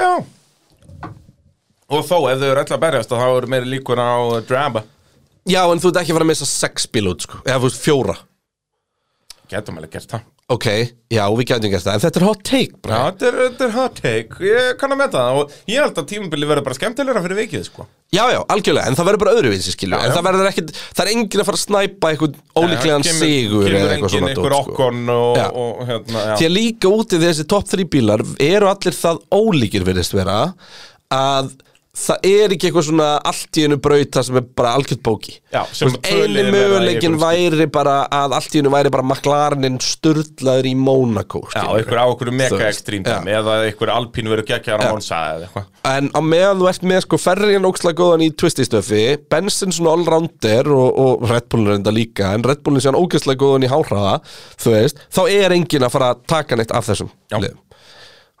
Já Og þó, ef þau eru öll að berjast þá eru meiri líkur á drama Já, en þú ert ekki að fara að missa sex bíl út, sko Eða, þú veist, fjóra Getum alveg gert það Ok, já, við gætum gert það En þetta er hot take, Já, bara þetta er, þetta er hot take Ég kann að meta það og ég held að tímabili verður bara skemmtilegra fyrir vikið, sko Já, já, algjörlega, en það verður bara öðruvísi, skilju En já. það verður ekkit, það er enginn að fara að snæpa einhvern ólíklegan Já, sigur Kemur eða eitthvað engin svona einhver dót, sko. okkon og, Já. og hérna, já Því að líka úti þessi topp 3 bílar eru allir það ólíkir virðist vera að það er ekki eitthvað svona allt í einu braut það sem er bara algjört bóki Já, sem Þú veist, tvö eini liðin verða í möguleikin einhverjum væri bara að allt í einu væri bara maklarinin sturlaður í Mónakó Já, einhver á einhverju Þú mega veist, ekstrím já. dæmi eða einhver alpín verður geggjar á Monsa eða eitthvað En á meðan þú ert með sko ferriðan ókslega góðan í twististöfi, Benson svona allrounder og, og Red Bullin reynda líka, en Red Bullin sé hann ógeðslega góðan í háhraða, þú veist, þá er enginn að fara að taka neitt af þessum Já. liðum.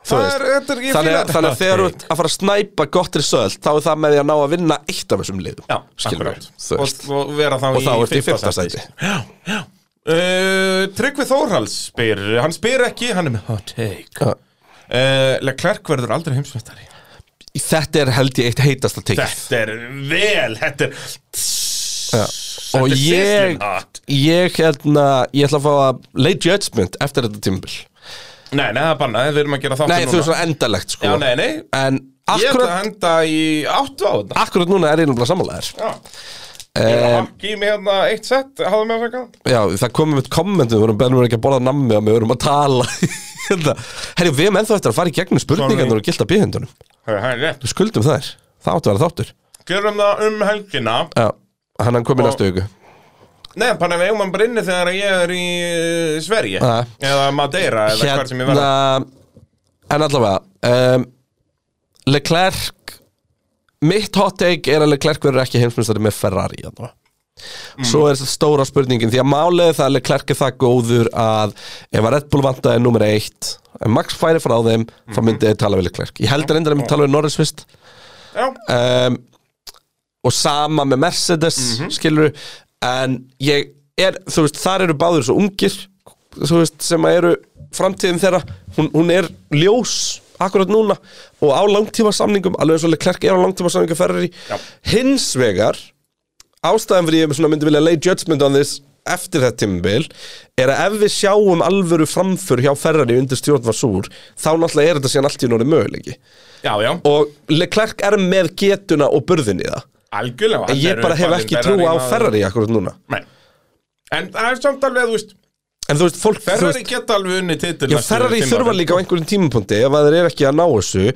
Þú Það veist, er, þetta er, ég þannig, fíla að- þannig að þegar þú ert að fara að snæpa gott result, þá er það með því að ná að vinna eitt af þessum liðum. Já, skilur akkurát við. Þú og, veist, og vera þá og þá ert í fimmta fyrsta sæti. Já, já uh, Tryggvi Þórhals spyr Hann spyr ekki, hann er með hot take Já. uh, Leclerc verður aldrei heimsmeistari Þetta er held ég eitt heitasta tekið. Þetta er vel, þetta er Já. Þetta Og er Ah, ég, sizzling hot. ég hérna, ég ætla að fá að lay judgment eftir þetta tímbil. Nei, nei, það er bannað, við erum að gera þáttir Nei, þú veist svona endalegt sko Já, nei, nei En Ég ætla að akkurat, henda í áttu á þetta akkurat núna er ég náttúrulega sammálaðir Já Ég Eh, er að hakka í mig hérna eitt sett, hafðu mig að segja Já, það komum við kommentum, við vorum bennum ekki um að borða nammi og við vorum að tala Hérna. Herri, við erum ennþá eftir að fara í gegnum spurningarnar Sorry. og gilda bíðhendunum Það er rétt Við skuldum þær, það áttu að vera þáttur Gerum það um helgina Já, hann hann kom í Og- næstu viku Nei, bara ef mann brinni þegar ég er í eh, Sverige Ja. Eða Madeira eða Hérna- hvar sem ég verða en allavega um, Leclerc mitt hot take er að Leclerc verður ekki heimsmyndstari með Ferrari þarna. Mm. svo er þess stóra spurningin því að málið er það að Leclerc er það góður að ef að Red Bull vantaði nummer eitt ef Max færi frá þeim þá Mhm. myndi þið tala við Leclerc ég heldur endur að myndi tala við Norris fyrst Já, um, og sama með Mercedes skilur en ég er, þú veist, þar eru báður svo ungir, þú veist, sem að eru framtíðin þeirra, hún, hún er ljós akkurat núna og á langtíma samningum, alveg svolítið klerk er á langtíma samningum ferri, Já. hins vegar ástæðan fyrir ég svona myndi vilja lay judgment on this eftir þetta tímabil er að ef við sjáum alvöru framför hjá Ferrari undir stjórn var súr þá náttúrulega er þetta síðan allt í núri möguleiki já, já, og Leclerc er með getuna og burðin í það algjörlega en ég Þetta bara er hef uppalinn ekki trú á maður. Ferrari akkurat núna Nei. En það er samt alveg, þú veist en þú veist, fólk þú Ferrari veist, geta alveg unni titil já, Ferrari þurfa líka á einhverjum tímapunkti ef að þeir eru ekki að ná þessu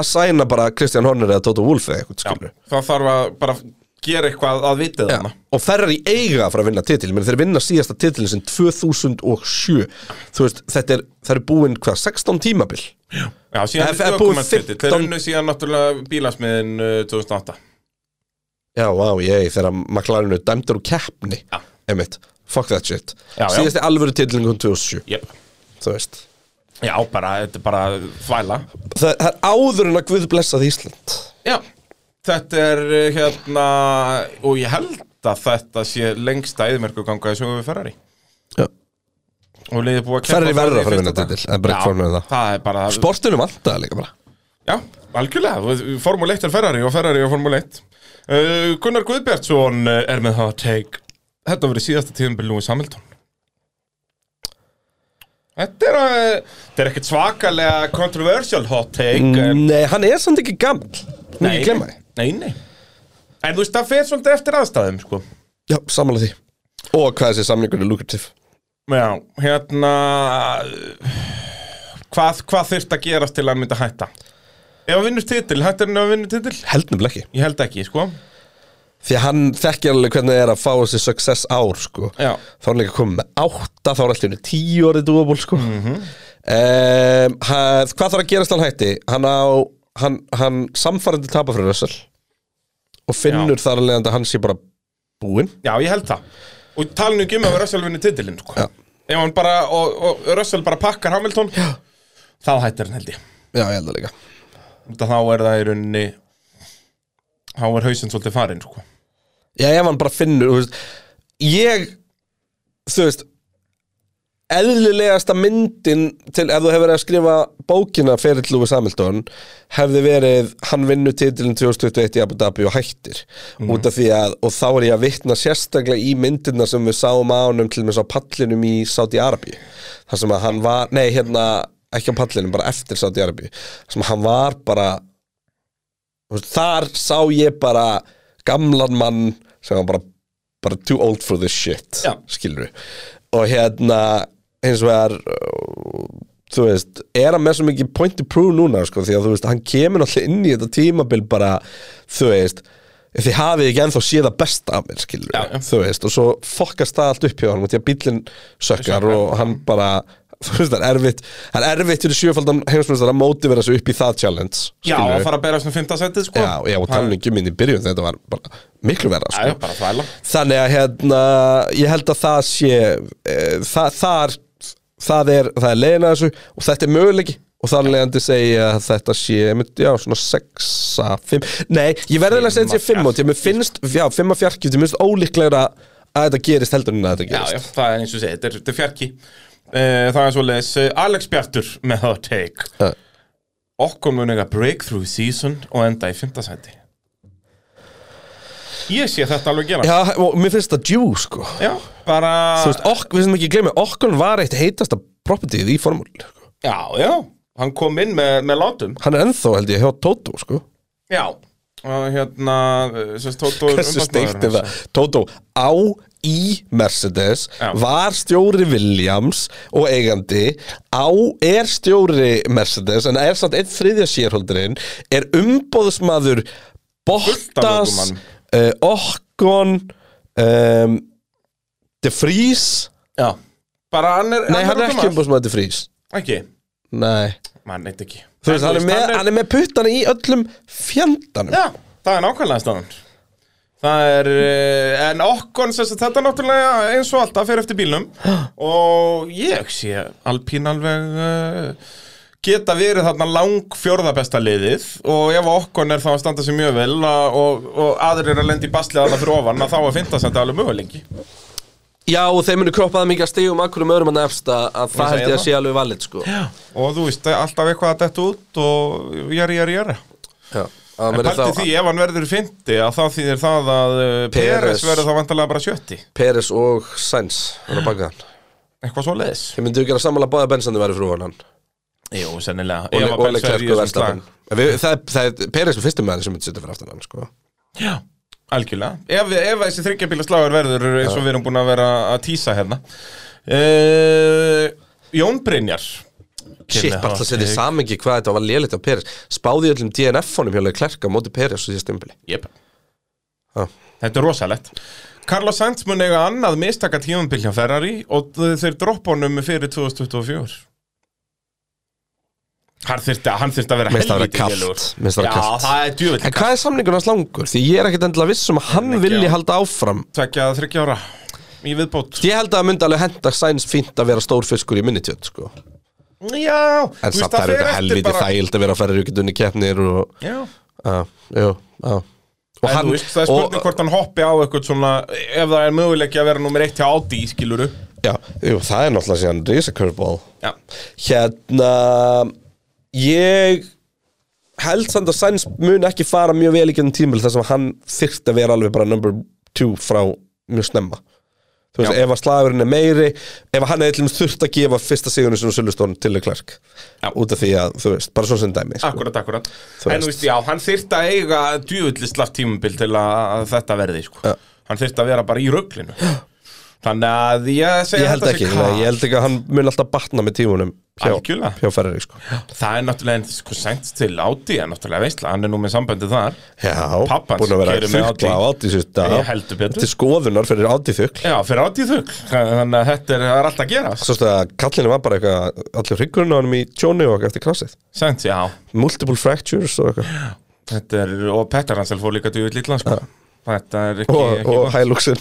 að sæna bara Christian Horner eða Toto Wolff eða eitthvað skilur Það þarf að bara gera eitthvað að vitið Já, þarna og Ferrari eiga að fara að vinna titil menn þeir vinna síðasta titilin sem 2007 þú veist, þetta er, það er búin hvað, 16 tímabil Já, síðan Ef- ef er búið búið titil Þeir 15 unnu síðan náttúrulega bílasmiðin uh, 2008 já, vá, ég, þegar McLarenu dæmdur úr keppni, Já. emitt fuck that shit, Já, já. síðasti alvöru titilin kom 2007, yep. þú veist Já, bara, þetta er bara þvæla það, það er áður en að Guð blessað Ísland Já, þetta er uh, hérna og ég held að þetta sé lengsta eðmerkuganga í sögum við Ferrari Já. og liðið búið að keppa Ferrari verður í að fara að fyrsta vinna dag. titil, það er bara ekki Já, formúlan það. Það er bara Sportinu vantaði líka bara Já, algjörlega, Formule 1 er Ferrari og Ferrari er Formule 1 uh, Gunnar Guðbjartsson er með það að take Þetta verið síðasta tíðanbyrð Lewis Hamilton Þetta er, uh, þetta er ekkert svakalega controversial hot take en Nei, hann er samt ekki gammal Hún ekki Mm, glemma því Nei, nei En þú veist, það fer svolítið eftir aðstæðum, sko Já, samanlega því Og hvað þessi samningur er lukrativ Já, hérna Hvað, hvað þurft að gerast til að hann myndi hætta? Ef hann vinnur titil, hættir hann að vinna titil? Held nefnilega ekki Ég held ekki, sko Því að hann þekkir alveg hvernig það er að fá þessi success ár sko. Já. Þá er hann líka komið með átta Þá er alltaf henni tíu orðið dúaból sko. mm Hvað þarf að gerast hann hætti? Hann á Hann, hann samfærandi tapa fyrir Russell Og finnur þar að leiðandi að hann sé bara búinn Já, ég held það Og tala nú ekki um að Russell vinni titilinn, sko Já. Ef hann bara, og, og Russell bara pakkar Hamilton Já Þá hættir hann held ég Já, ég held að líka Þetta þá er það í rauninni Þá er hausinn svolítið farinn, sko Já, ef hann bara finnur þú veist, Ég Þú veist eðlilegasta myndin til ef þú hefur verið að skrifa bókina fyrir Lewis Hamilton hefði verið hann vinnur titilin 2021 í Abu Dhabi og hættir út af því að og þá er ég að vitna sérstaklega í myndina sem við sáum á honum til með sá pallinum í Saudi Arabi þar sem að hann var, nei hérna ekki á pallinum, bara eftir Saudi Arabi þar sem hann var bara þú veist, þar sá ég bara gamlan mann sem var bara, bara too old for this shit Já. skilur við og hérna hins vegar uh, þú veist, er hann með svo mikið point to prove núna sko, því að þú veist, hann kemur náttúrulega inn í þetta tímabil bara, þú veist þið hafið ekki ennþá séð að besta af mér skilur Já, já. þú veist, og svo fokkast það allt upp hjá hann, því að bíllinn sökkar og hann bara, þú veist, það er erfitt það er erfitt fyrir sjöfaldan heimsmyndstar að móti vera svo upp í það challenge Já, skilurðu. að fara að bera svona fymta setið sko Já, já, og tala ekki um inn í byrjun þetta var bara miklu verra Já, já, sko. bara þvæla Þannig að hérna, ég held að það sé e, það, þar, það er það er leiðin að þessu og þetta er möguleiki og þar leiðandi segja að þetta sé einmitt, já, svona 6 5, nei, ég verði alveg að segja 5 út, ég mér finnst, já, 5 að fjarkið, ég minnst ólíklegra að þetta gerist heldur en að þetta Já, gerist já, það er eins og segið, þetta er, þetta er fjarki Eh, Það er svo leis Alex Bjartur með það take Já. Okkur mun eiga breakthrough season og enda í fymta seti Ég sé þetta alveg gera Já, og mér finnst þetta djú, sko Já, bara Þú veist, ok, við sem ekki gleymi, okkur var eitt heitasta propertyð í formúli Já, já, hann kom inn með, með látum Hann er ennþá, held ég, hjá Tóto, sko Já Og hérna, sérst, Tótó Hversu steikt er það? Tótó, á í Mercedes, Já. var stjóri Williams og eigandi, á er stjóri Mercedes, en er samt einn þriðja sérhóldurinn, er umbóðsmaður Bottas, Fullt af ökumönnum. uh, Okkon, um, De Vries, Já Bara hann er nei hann er ekki ökumaður. umbóðsmaður De Vries, Ekki, nei. mann neitt ekki Þú veist, hann er, með, hann er með puttana í öllum fjandanum. Já, það er nákvæmlega staðan Það er, eh, en okkon sem sagt, þetta er náttúrulega eins og alltaf fyrir eftir bílnum og ég sé Alpín alveg uh, geta verið þarna lang fjórða besta liðið og ef okkon er þá að standa sig mjög vel að, og, og aðrir er að lendi í basliða þarna fyrir ofan að þá að finna þetta alveg möguleiki Já, og þeir munu kroppa það mikið að stigum akkur um öðrum að nefst að að það segja held ég að það. sé alveg valið, sko. Já. og þú veist, alltaf eitthvað að detta út og jari, jari, jari Já, að En verði pælti þá því, ef hann verður fyndi að þá þýðir það að uh, Peres. Peres verður þá vantarlega bara sjötti Peres og Sainz er að baka hann eitthvað svo leiðis Þeir myndu ekki að samanlega báða bensandi verið frú hann Jú, sennilega Og, Ef að og Pels Leclerc verður í og þessum Verstappen slag. En við- Það er, það er Peres með fyrstum með hann sem myndi sitja fyrir aftan hann sko. Já, algjörlega Ef, ef þessi þryggjabíla slagur verður eins og við erum búin að vera að tísa hérna uh, Jón Brynjar Shit, bara alltaf að setja í samengi hvað þetta var lélitt á Peres Spáði í öllum DNF-honum hjálega klerka á móti Peres og því stimpli yep. Já. Þetta er rosalegt Carlos Sainz mun eiga annað mistaka tímambil hjá Ferrari og þ- þeir droppa honum fyrir 2024 Hann þyrfti, hann þyrfti að vera Mér finnst það að vera helvítið kalt. lélegur. Mér finnst það að Já, vera kalt. það er djöfull En hvað er samningun hans langur? Því ég er ekkit endilega viss um að hann ekki, vilji já. halda áfram Tvekja þryggja ára í viðbót Ég held að það myndi alveg henda Sainz fínt að vera stór fiskur í minnitjöld sko. Já En samt það er auðvitað helviti þægild að vera að fara rjúkindunni keppnir og Já Já, jú, já og En þú veist, það er spurning hvort hann hoppi á eitthvað svona ef það er möguleiki að vera nummer eitt hjá Audi, skiluru já, jú, það er náttúrulega síðan risa curveball Já, hérna ég held samt að Sainz mun ekki fara mjög vel í gennum tímil þar sem hann þyrfti að vera alveg bara number two frá mjög snemma þú veist, Já. ef að slagurinn er meiri ef hann hefði til dæmis þurft að gefa fyrsta sigurinn sem Sölustón til Leclerc Já. út af því að, þú veist, bara svona sem dæmi sko. akkurat, akkurat Þú En veist. þú veist, já, hann þyrfti að eiga djúvillig slapp tímabil til að, að þetta verði, sko Já. Hann þyrfti að vera bara í rugglinu Þannig að ég ég segja held ekki, nei, ég held ekki að hann mun alltaf batna með tímunum hjá, Algjörlega. hjá Ferrari sko. Það er náttúrulega en sko sent til Audi er náttúrulega veistla, hann er nú með sambandi þar Já, Pabbi hans búin að vera keyrir með þukla á átti sérst að Ég heldur betur. Til skoðunar fyrir átti þukl Já, fyrir Audi þugl, þannig að þetta er, það er alltaf að gera sko. Svo stið að kallinu var bara eitthvað Allir hryggurinn á hann í tjóni og eftir krasið Sent, já Multiple fractures og eitthvað Þetta er, og Petter Hansel fór líka djúvillig illa, sko Þetta er ekki, Og, ekki og gott. hæluxin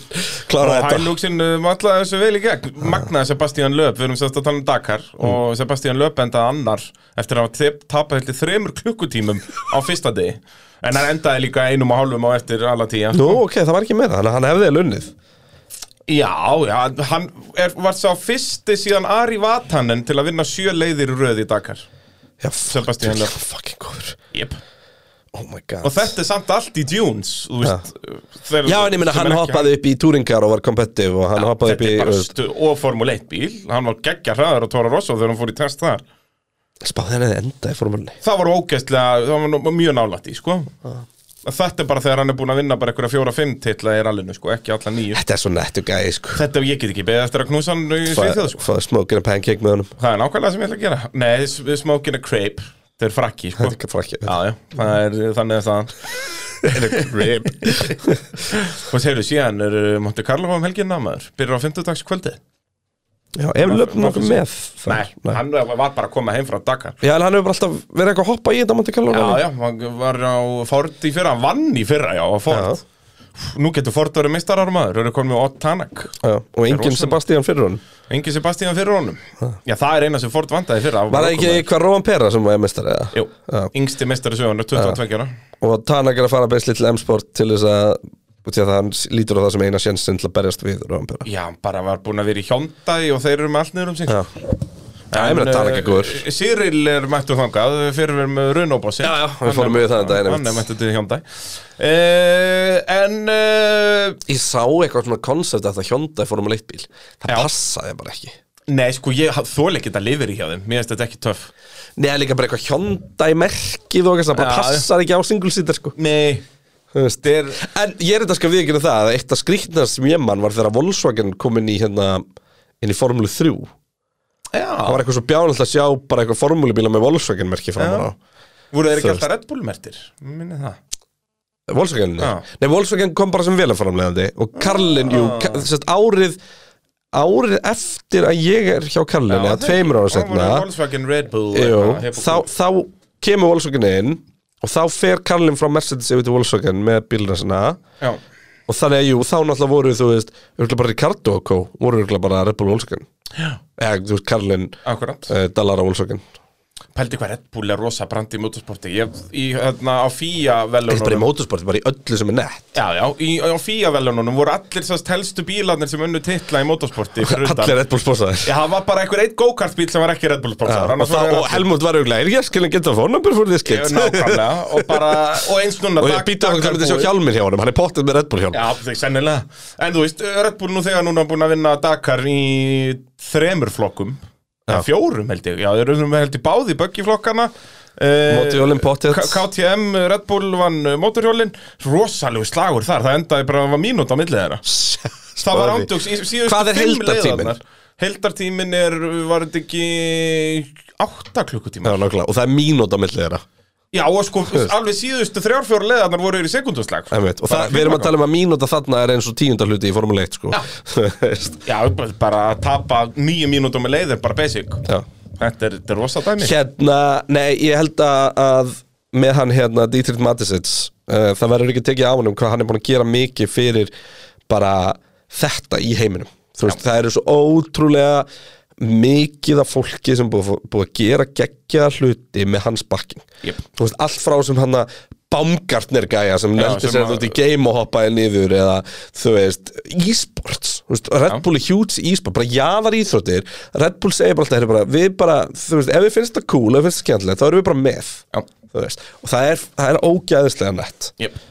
klára Og þetta Hiluxin matlaði þessu vel í gegn Magnaði Sebastian Lööp, við erum sérst að tala um Dakar Mm. Og Sebastian Lööp endaði annar Eftir að hafa tapað heldur þremur klukkutímum Á fyrsta degi En hann endaði líka einum og hálfum á eftir alla tíja Nú, ok, það var ekki meira Þannig að hann hefði lunnið Já, já, hann er, var sá fyrsti síðan Ari Vatanen til að vinna sjö leiðir í röð í Dakar Já, Sebastian fuck, Loeb. fucking góður yep. Oh my god Og þetta er samt allt í Dunes þú veist, þeir- Já, en ég minna, sem hann er ekki hoppaði upp í túringar og var kompetitiv og hann hoppaði upp í Þetta er bara uh, stu, og Formule 1 bíl Hann var geggja hraðar á Tóra Rosso þegar hann fór í test þar Spáði henni að enda í formúlinni Það var ógeðslega, það var nú- mjög nálætt í, sko Þetta er bara þegar hann er búin að vinna bara einhverja fjóra-fimm titla í rallinu, sko, ekki alla nýju Þetta er svo nettu gæði, sko Þetta ég get ekki beðið eftir að knúsa hann í Svíþjóð, sko Fáði smokin að pancake með honum Það er nákvæmlega sem ég ætla að gera Nei, s- smoking a crepe Þetta er frakki, sko Þetta er ekki frakki Já, já, það er þannig að það er grip Og segir við síðan er uh, Monte Carlo um helginna maður Byrjar á fimmtudags kvöldi Já, ef löfnum nokkuð með Nei, þar. hann var bara að koma heim frá Dakar Já, en hann hefur bara alltaf verið eitthvað að hoppa í þetta Monte Carlo Já, rally. já, hann var á Ford í fyrra Hann vann í fyrra, já, á Ford Nú getur Ford verið meistarar maður Þau eru komin með Ott Tanak já Og enginn rosalegt. Sebastian fyrir honum Engi Sebastian fyrir honum Já, það er eina sem Ford vandaði í fyrra Var það ekki eitthvað Róan Pera sem var mestar eða? Jú, Já. yngsti meistari sögunar, 22 ára Og Tanak er að fara beisli til M-Sport til þess að Því að hann lítur á það sem eina sjensin til að berjast við Róan Pera Já, hann bara var búin að vera í hjóndagi og þeir eru með allt niður um sig eh, Já. Já, ég meina, það er ekki góður. Cyril er mættur þangað, fyrir við með Runobossi Já, já, við fórum yfir það um daginn, einmitt. Hann er mættur til hjóndagi uh, En uh, Ég sá eitthvað svona koncept að það hjónda í formule 1 bíl Það Já. passaði bara ekki Nei, sko, ég þóla ekki þetta lifir í hjá þeim Mér finnst þetta ekki töff Nei, það er líka bara eitthvað hjónda í merkið og eitthvað Það bara Já. passar ekki á singlesítar sko Nei, Þú veist. þetta er En ég er þetta sko viðkynna það að eitt af skrýtnar sem ég mann var þegar Volkswagen kom inn í hérna inn í Formule 3 Það Já, var eitthvað svo bjánallt að sjá bara eitthvað formúlubíla með Volkswagen merki framar á voru þeir Þú ekki veist. alltaf Red Bull mertir Minni það Volkswagen, Já. Ah. nei. nei, Volkswagen kom bara sem velaframlegandi og Karlin, jú, ka- sérst, árið árið eftir að ég er hjá Karlin, eða tveimur ára setna Það voru Volkswagen Ah, Red Bull jú, eitthvað, hip og þá, cool. þá kemur Volkswagen inn og þá fer Karlin frá Mercedes yfir til Volkswagen með bílina sinna Já, og þannig að jú, þá náttúrulega voru þú veist, örugglega bara Ricardo og Kó voru örugglega bara Red Bull Volkswagen Já. eða þú veist, Karlin, akkurat uh, Dallara Volkswagen Pældi hvað Red Bull er rosa brandi í motorsporti Ég, í, hérna, á FIA Þetta er bara í velunum mótorsporti, bara í öllu sem er nett Já, já, í, á FIA velunum voru allir sást helstu bílarnir sem unnu titla í motorsporti fyrir utan. Allir Red Bull sponsaðir Já, það var bara einhver eitt go-kart bíl sem var ekki Red Bull sponsor og, það, og Helmut var auðvitað, er ég að skilja geta fónabur fyrir því skilt Nákvæmlega, og bara, og eins núna og ég Dag- býta hann Dakar hvernig þið sjá búið. hjálminn hjá honum, hann er pottið með Red Bull hjálm Já, það er sennilega En þú veist, Red Bull nú þegar núna búin að vinna Dakar í þremur flokkum Já. Fjórum held ég, já, þeir eru held ég báði Eh, böggiflokkana Mótorhjólin, pottþétt. KTM, Red Bull vann eh, mótorhjólin Rosalegu slagur þar, það endaði bara að var mínúta á milli þeirra Það var Sorry. ándugs í síðustu Hvað er fimm heildartíminn? leiðarnar. Heildartíminn er, var þetta ekki átta klukkutíma Já, nákvæmlega, og það er mínúta á milli þeirra Já, og sko, alveg síðustu þrjárfjóra leiðarnar voru yfir í sekunduslag einmitt. og það, við erum að tala um að mínúta þarna er eins og tíunda hluti í Formule 1 sko. Þú veist. Já, bara- bara að tapa nýju mínútum með leiðir, bara basic Já. Þetta er, þetta er rosa dæmi Hérna, nei, ég held að, að með hann hérna, Dietrich Matisits uh, það verður ekki tekið á hann um hvað hann er búin að gera mikið fyrir bara þetta í heiminum Þú veist, það eru svo ótrúlega mikið af fólki sem búið, búið að gera geggja hluti með hans bakking Jep. þú veist, allt frá sem hann að Baumgartner gæja sem neldi sem sér að- þetta út í game og hoppaði niður eða þú veist, e-sports þú veist, Red Bull er huge e-sport, bara jaðar íþróttir Red Bull segir bara alltaf, "Heyrðu bara, við bara þú veist, ef við finnst það cool, ef við finnst það skemmtilegt þá erum við bara með Já. Þú veist, og það er, það er ógæðislega nett yep.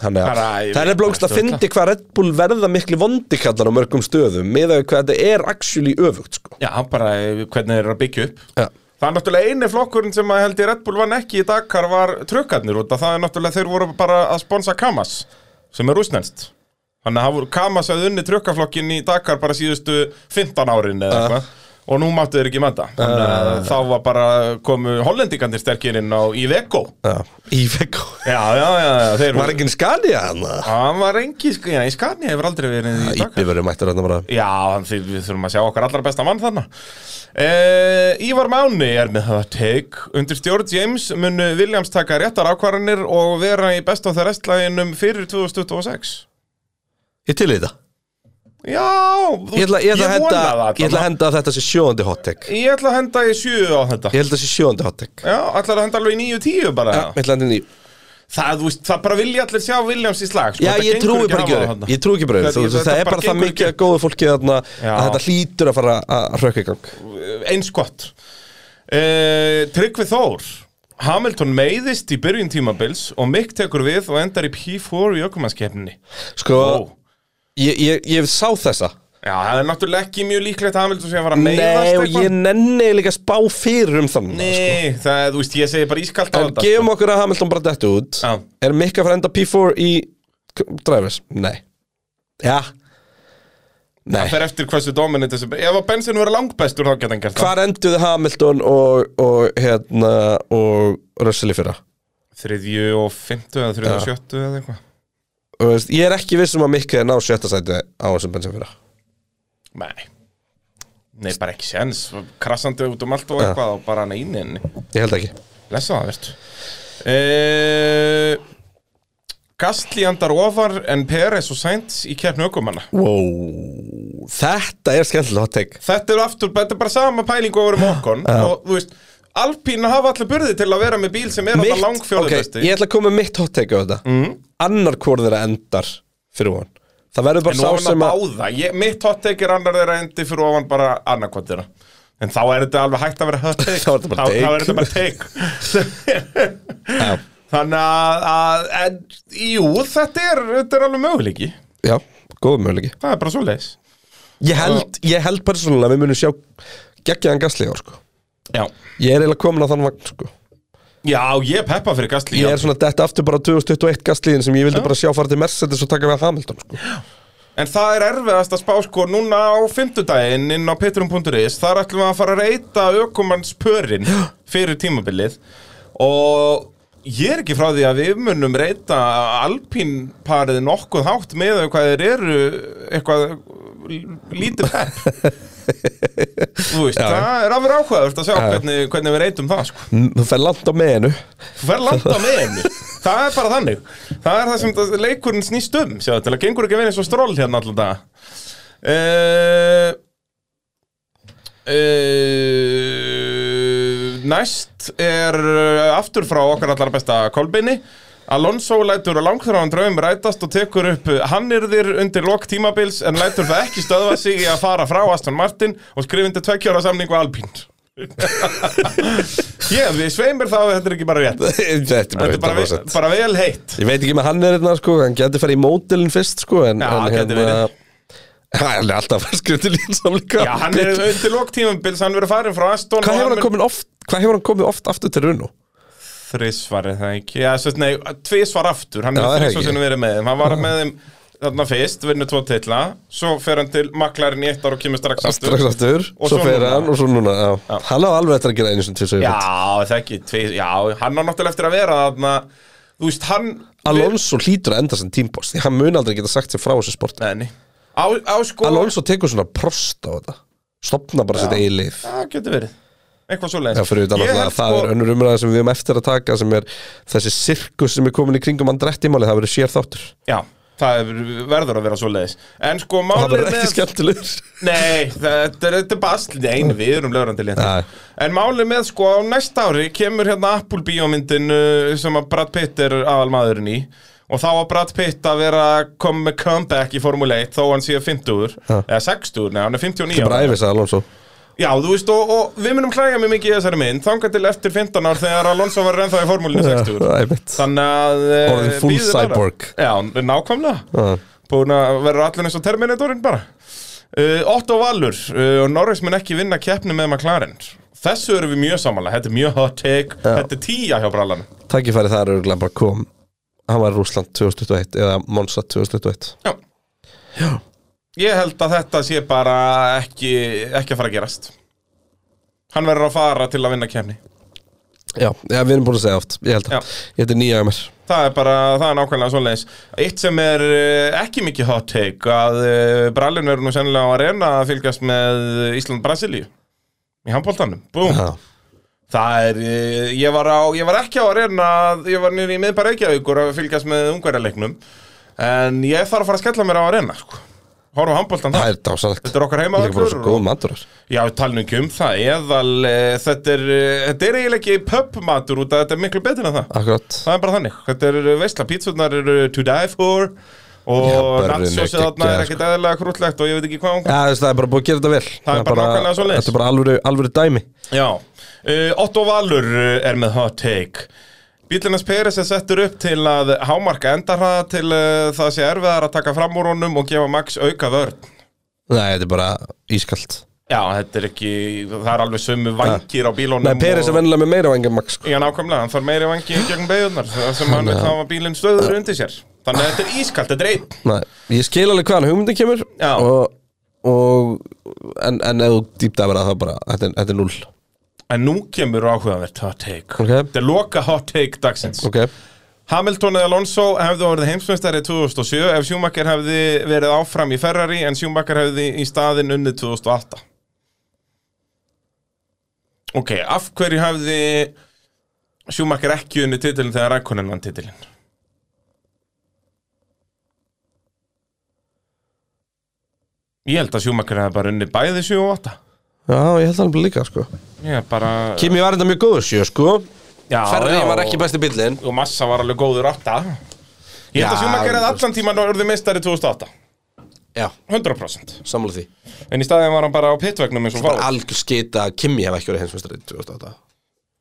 Þannig að Bara, sko. ég það er veit, blókst að þetta er fyndi hvað Red Bull verða miklu vondikallar á mörgum stöðum með að hvað þetta er actually öfugt sko. Já, bara eh, hvernig þeir eru að byggja upp Já. Það er náttúrulega eini flokkurinn sem að held ég Red Bull vann ekki í Dakar var trukkarnir út að það er náttúrulega þeir voru bara að sponsa Kamas sem er rúsnenst Þannig að það voru- Kamas hefði unni trukkaflokkin í Dakar bara síðustu 15 árin eða eitthvað og nú máttu þeir ekki með það Þannig að þá var bara komu hollendingarnir sterkir inn á Iveco Já. Í vekku Já, já, já, já þeir Var enginn Scania hann? Hann var engi, sko, já, í Skani hefur aldrei verið í Dakar Íbbi verður mættur hann bara Já, hann- því við þurfum að sjá okkar allra besta mann þarna uh, Ívar Máni er með það teik Undir stjórn James mun Williams taka réttar ákvarðanir og vera í best á það restlæginum fyrir 2026 Ég til í þetta Já, þú, Ég ætla, ég ætla, að vona henda, það ég ætla að allavega. henda að þetta sé sjóðandi hottek Ég ætla að henda í sjö á þetta Ég held að sé sjóðandi hottek Já, ætla að henda alveg í 9-10 bara Ég ætla að henda ný það, þú veist, það bara vilja allir sjá Williams í slag sko. Já, Þetta ég gengur trúi bara að ekki hafa öðru þarna. Ég trúi ekki bara öðru Þú Þetta- veist, þetta Það er bara bara það gengur mikið ekki að góða fólki þarna Já. að þetta hlýtur að fara að hrökk í gang eins gott uh, Tryggvi Þór Hamilton meiðist í byrjun tímabils og Mick tekur við og endar í P4 í ökumannskeppninni Sko, Ó. ég, ég, ég sá þessa Já, það er náttúrulega ekki mjög líklegt að Hamilton sé að fara að Nei, meiðast og ég nenni líka að spá fyrir um þannig Nei, það, þú veist, ég segi bara ískalt á En þetta gefum okkur að Hamilton bara dettu út Já. Er Mikka að enda P4 í k- Drivers? Nei Já Nei Það fer eftir hversu dominant þessu Ef að Benson verið langbestur þá geta hann gert það Hvar enduðu Hamilton og, og hérna og Russell í fyrra? Þriðju og fymtu eða þriðju og sjöttu eða eitthvað Þú Veist, ég er ekki viss um að Mikka er ná sjötta sæti á þessum bensin fyrra Nei Nei, bara ekki sens Krassandi út um allt og eitthvað og bara neini henni Ég held ekki Lesa það, veist e Gastli andar ofar en Peres og Sainz í keppni aukumanna wow. Þetta er skemmtilega hot take Þetta er aftur, þetta er bara sama pæling og við um okkon og þú veist Alpín hafa allir burði til að vera með bíl sem er alltaf langfjóðið ok, Ég ætla að koma með mitt hot take á þetta mm. Annar hvort þeirra endar fyrir hún Það verður En bara nú sá er hann sem að að báða ég, Mitt hot take er annar þeirra endi fyrir ofan bara annarkot þeirra En þá er þetta alveg hægt að vera hot take Þá er þetta bara take. Þá er þetta bara take Þannig að, að en, Jú, þetta er, þetta er alveg möguleiki Já, góð möguleiki Það er bara svo leis Ég held, ég held persónulega að við munum sjá geggjaðan gasli í ár sko Já, Ég er eiginlega komin á þann vagn sko já ég peppa fyrir Gastli Ég er svona detta aftur bara 2021 gasliðin sem ég vildi bara sjá fara til Mercedes og taka við Hamilton sko En það er erfiðast að spá sko núna á fimmtudaginn inn á petrum.is Þar ætlum við að fara að reyta ökumanns pörin fyrir tímabilið Og ég er ekki frá því að við munum reyta alpínparið nokkuð hátt með hvað þeir eru eitthvað lítið pepp Þú veist, það er alveg áhugaður að sjá hvernig, hvernig við reytum það sko Mm, Þú fer langt á meðinu Hver landa með henni? Það er bara þannig. Það er það sem það- leikurinn snýst um, sjáðu, til að gengur ekki að vera eins og stról hérna alltaf daga. Uh, uh, næst er eh, aftur frá okkar allar besta kolbeinni. Alonso lætur á langþráðan draum rætast og tekur upp eh, hannyrðir undir lok tímabils en lætur það ekki stöðva sig í að fara frá Aston Martin og skrifindi tvekkjára samningu Alpín. Ég, við sveimir það að þetta er ekki bara rétt. Þetta er Þetta er bara, vel- 100%. bara vel heitt Ég veit ekki með hann er hérna sko, hann getur farið í mótilin fyrst sko en, Já, en gæti verið. Hann er alltaf að skrifta línsamleika Já, hann er undir lók tímabils, hann verið farin frá Aston Hvað hefur hann komið oft, hvað hefur hann komið oft aftur til Runo? Þrísvarið það ekki, já, svo, nei, tvísvar aftur Hann Já, það er er þrísvar ekki. sem verið með þeim Hann var með þeim þarna fyrst, vinnur tvo titla Svo fer hann til maklarinn í eitt ár og kemur strax aftur Strax aftur, Og svo svo fer núna. hann og svo núna já. Hann á alveg eftir að gera einu sem til svo Já, það ekki, tvís, já, hann á náttúrulega eftir að vera þarna Þú veist, hann Alonso hlýtur að enda sem tímpost Því hann mun aldrei geta sagt sér frá þessu sporti Nei, nei. á, á sko Alonso tekur svona prost á þetta Stopna bara sitt eigið lið Það getur verið, eitthvað svo Já, fyrir utan alltaf að það sko- er önnur umræða sem við um eftir að taka sem er þessi sirkus sem er komin í kringum andrættimáli, það verður sér þáttur Já, það er- verður að vera svo En sko, og það málið verður ekki skemmtilegur Nei, þetta er, þetta er basl Mm. Nei, við erum lögrandi Já. létt En málið með sko, á næsta ári kemur hérna Apple bíómyndin uh, sem að Brad Pitt er aðal maðurinn í og þá að Brad Pitt að vera að koma með comeback í Formule 1 þó hann sé 50 Já. eða 60, nei, hann er 59 Bara ára. æfis að Alonso Já, þú veist, og, og við munum hlæja mjög mikið í þessari mynd þangað til eftir 15 ár þegar Alonso var ennþá í formúlinu 60 Það er mitt Þannig að eh, Orðin full bíðið bara. cyborg. Já, nákvæmlega Já. Búin að vera allir eins og Terminatorinn bara uh, Otto Valur uh, og Norris mun ekki vinna keppni með McLaren Þessu eru við mjög samanlega Þetta er mjög hot take Þetta er tíja hjá brallan Tækifæri það er örgulega bara kom Hann var í Rússland 2021 eða Monsa 2021 Já. Ég held að þetta sé bara ekki, ekki að fara að gerast Hann verður að fara til að vinna keppni Já, já við erum búin að segja oft, ég held Já. að Ég held að nýja mér Það er bara, það er nákvæmlega svoleiðis Eitt sem er eh, ekki mikið hot take að eh, brallin eru nú sennilega á arena að fylgjast með Ísland-Brasilíu í handbóltanum, búm Já, Það er, eh, ég var, á, ég var ekki á arena ég var nýri í miðbæra Reykjavíkur að fylgjast með ungverjaleiknum en ég þarf að fara að skella mér á arena sko. horfa á handbóltan Það það er dásalegt Þetta er okkar Líka bara heimavöllur svo og- góð matur þar. Já, talnum ekki um það Eðal, e, þetta er, e, þetta er eiginlega ekki pubmatur út að þetta er miklu betur en það Akkurat Það er bara þannig Þetta er veistla, pítsurnar eru to die for Já, Og börrin er natsjósið þarna geggjað, sko. er ekkit eðalega krútlegt og ég veit ekki hvað hún Já, þess, það er bara búið að gera þetta vel Það bara nákvæmlega svoleiðis. Þetta er bara alvöru, alvöru dæmi Já, uh, Otto Valur uh, er með hot take Bílinas Peres er settur upp til að hámarka endarraða til uh, það sé erfiðar að taka fram úr honum og gefa Max auka vörn Nei, þetta er bara ískalt Já, þetta er ekki, það er alveg sömu vangir á bílunum Nei, Peris er vennilega með meira vangja max sko. Já, nákvæmlega, hann þarf meiri vangi í gegn beigurnar þar sem hann vil hafa bílinn stöður undir sér Þannig að þetta er ískalt, þetta er einn Nei, ég skil alveg hvaðan hugmyndin kemur Já. og, og En, en ef þú dýptaði bara það bara Þetta er, þetta er null En nú kemur áhugavert hot take Ok. Þetta er loka hot take dagsins Ok Hamilton eða Alonso hefðu orðið heimsmeistari 2007 ef Schumacher hefði verið áfram í Ferrari en Schumacher hefði í staðinn unnið 2008 Ok, af hverju hefði Schumacher ekki unnið titilin þegar Rækonin vann titilin? Ég held að Schumacher hefði bara unnið bæði 7 og 8 Já, ég held það líka sko Ég bara Kimi var þetta mjög góður sjö sko Já, Ferri já. var ekki besti bíllinn og Massa var alveg góður 8 Ég held að Já, Schumacher hefði allan tíman orðið meistari 2008 Já, 100% samla því En í staðin var hann bara á pitvegnum eins og Bara fá algjör skita að Kimi hef ekki verið heimsmeistari 2008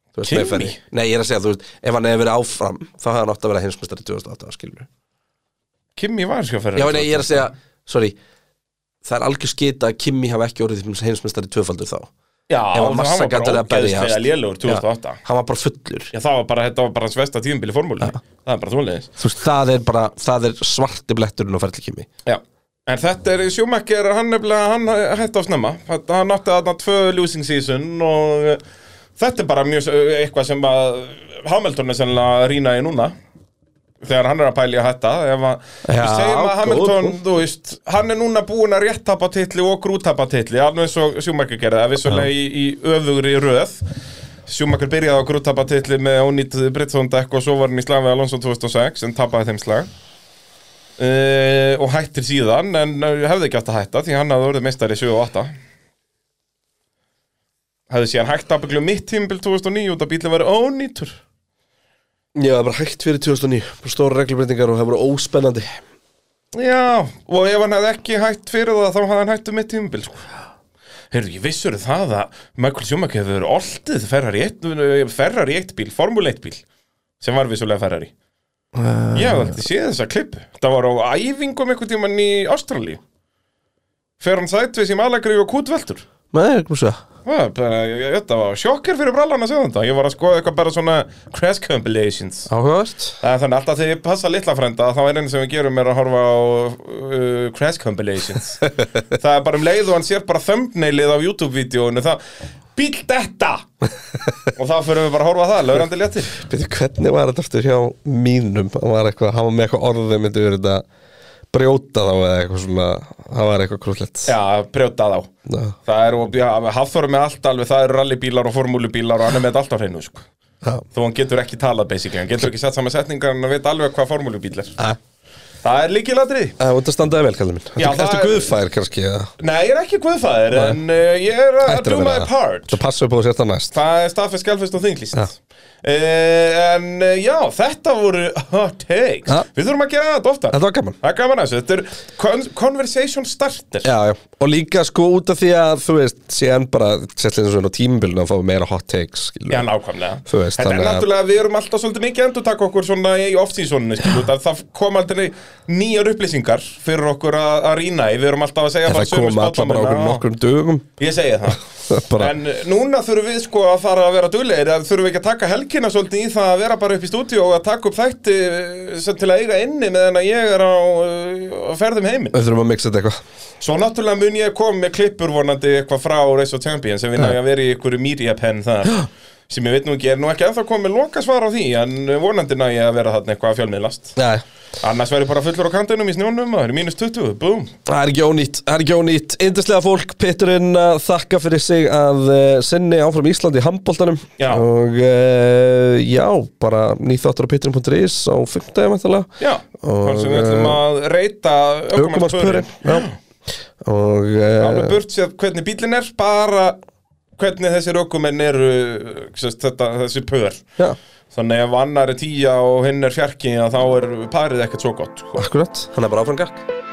Þú veist, með Kimi? Ferrari. Nei, ég er að segja, þú veist, ef hann hefði verið áfram þá hefði hann átt að vera heimsmeistari 2008 skilur Kimi var sko fyrir Já, nei, ég er að segja, sorry Það er algjör skita að Kimi hafa ekki orðið heimsmeistari tvöfaldur þá Já, Ef að og Massa hann var gat verið bara að berjast. ógeðslega lélugur 2008 Já. Hann var bara fullur það var bara, þetta var bara hans versta tíðinbili formúli Það er bara þúleðis Þú veist, það er bara, það er svarti bletturinn á ferli Kimi Já En þetta er Schumacher, hann nefnilega, hann hætti á snemma Þetta- Hann átti þarna tvö losing season og eh, þetta er bara mjög s- eh, eitthvað sem að Hamilton er sennilega að rýna í núna þegar hann er að pæli að hætta ef að, Já, við segjum að góð Hamilton, punktur. þú veist hann er núna búin að rétt tapa titli og grútapa titli, alveg eins og Schumacher gerði það vissulega í, í öfugri röð Schumacher byrjaði á grútapa titli með ónýtt Britsson dekk og svo var hann í slag við Alonso 2006 en tapaði þeim slag uh, og hættir síðan en eh, hefði ekki átt að hætta því hann hafði orðið meistari 7 og 8 hefði síðan hægt að byggja mitt tímbil 2009 út að bílinn var ónýtur Já, það er bara hægt fyrir 2009 Bara stóra reglubreitingar og það er bara óspennandi Já, og ef hann hefði ekki hætt fyrir það þá hafði hann hættu mitt tímabil sko. Heyrðu, ég vissur um það að Michael Schumacher hefur oltið ferrar í eitt, ferrar í eitt bíl, Formule 1 bíl sem var vissulega ferrar í Ég hafði aldrei séð þessa klippu Það var á æfingum einhvern tímann í Ástralíu Fer hann sætvis í Malagri og kútveltur Nei, hvað svo? Það, bara- ég- Þetta var sjokkar fyrir brallan að segja þetta Ég var að skoða eitthvað bara svona crash compilations Áhugavert Það er þannig alltaf þegar ég passa litla frænda þá er einu sem við gerum er að horfa á uh, Crash Compilations Það er bara um leið og hann sér bara thumbnailið af YouTube-vídeóinu það Bíl þetta! og þá fyrir við bara að horfa á það, laurandi léttir Býtu, hvernig var þetta aftur hjá mínum? Hann var eitthvað, hann var með eitthvað orðið myndi verið þetta brjóta þá eða eitthvað svona Það var eitthvað krúllett Já, brjóta þá Já, Það er, og ja, Hafþór er með allt alveg, það eru rallybílar og formúlubílar og hann er með þetta allt á hreinu sko. já. Þó hann getur ekki talað basically, hann getur ekki sett saman setningar en hann veit alveg hvað formúlubíl er Æ, Það er líkilatrið Það var þetta standaði vel, kallið minn Já, Ertu það ertu er- guðfær kannski? eða? Nei, ég er ekki guðfæðir en uh, ég er að Ættir do my vera það. part Það passa upp á að sérta næst Það er staðfest, skjálfest og þinglýst Já. uh, En uh, já, þetta voru hot takes Já. Við þurfum að gera þetta ofta Þetta var gaman Það er gaman að þessu, þetta er con conversation starter Já, já, og líka sko út af því að þú veist, síðan bara settlið svona tímbilinu að fá meira hot takes skilur. Já, nákvæmlega Þú veist, Þetta er þannig að- náttúrulega, við erum alltaf svolítið mikið endur taka okkur svona í off-seasoninu skilur, út af Það kom alltaf nýjar upplýsingar fyrir okkur að, að rýna í Við erum alltaf að segja En það sömu kom alltaf bara spádómana. okkur nokkrum dögum Ég segi það bara, En eh, núna þurfum við sko að fara að vera duglegir að þurfum við ekki að taka helgina svolítið í það að vera bara upp í stúdíu og að taka upp þætti eh, sem til að eiga inni meðan að ég er á, eh, á ferðum heiminn Við þurfum að mixa þetta eitthvað Svo náttúrulega mun ég koma með klippur vonandi eitthvað frá Race of Champions sem við nægum að vera í einhverju media pen þar sem ég veit nú ekki, er nú ekki ennþá komið loka svar á því en vonandi næg ég að vera þarna eitthvað að fjölmiðlast Nei, Annars verður bara fullur á kantinum í snjónum og það eru mínus 20, búm það er ekki ónýtt Það er ekki ónýtt Indislega fólk, Peturinn að þakka fyrir sig að uh, sinni áfram Íslandi í handbóltanum Já. Og uh, já, bara nýþáttur á Peturinn.is á fimmtæðum eftirlega Já, Og, þannig sem við ætlum að reyta ökumannsbörinn. Ökumannspörin Já og uh, Alveg burt sér hvernig bílinn er, bara hvernig þessi rökumenn eru, uh, sérst, þetta, þessi pör. já, Þannig ef annar er tíja og hinn er fjarki, þá er parið ekkert svo gott. sko. akkurat, hann er bara áfram gakk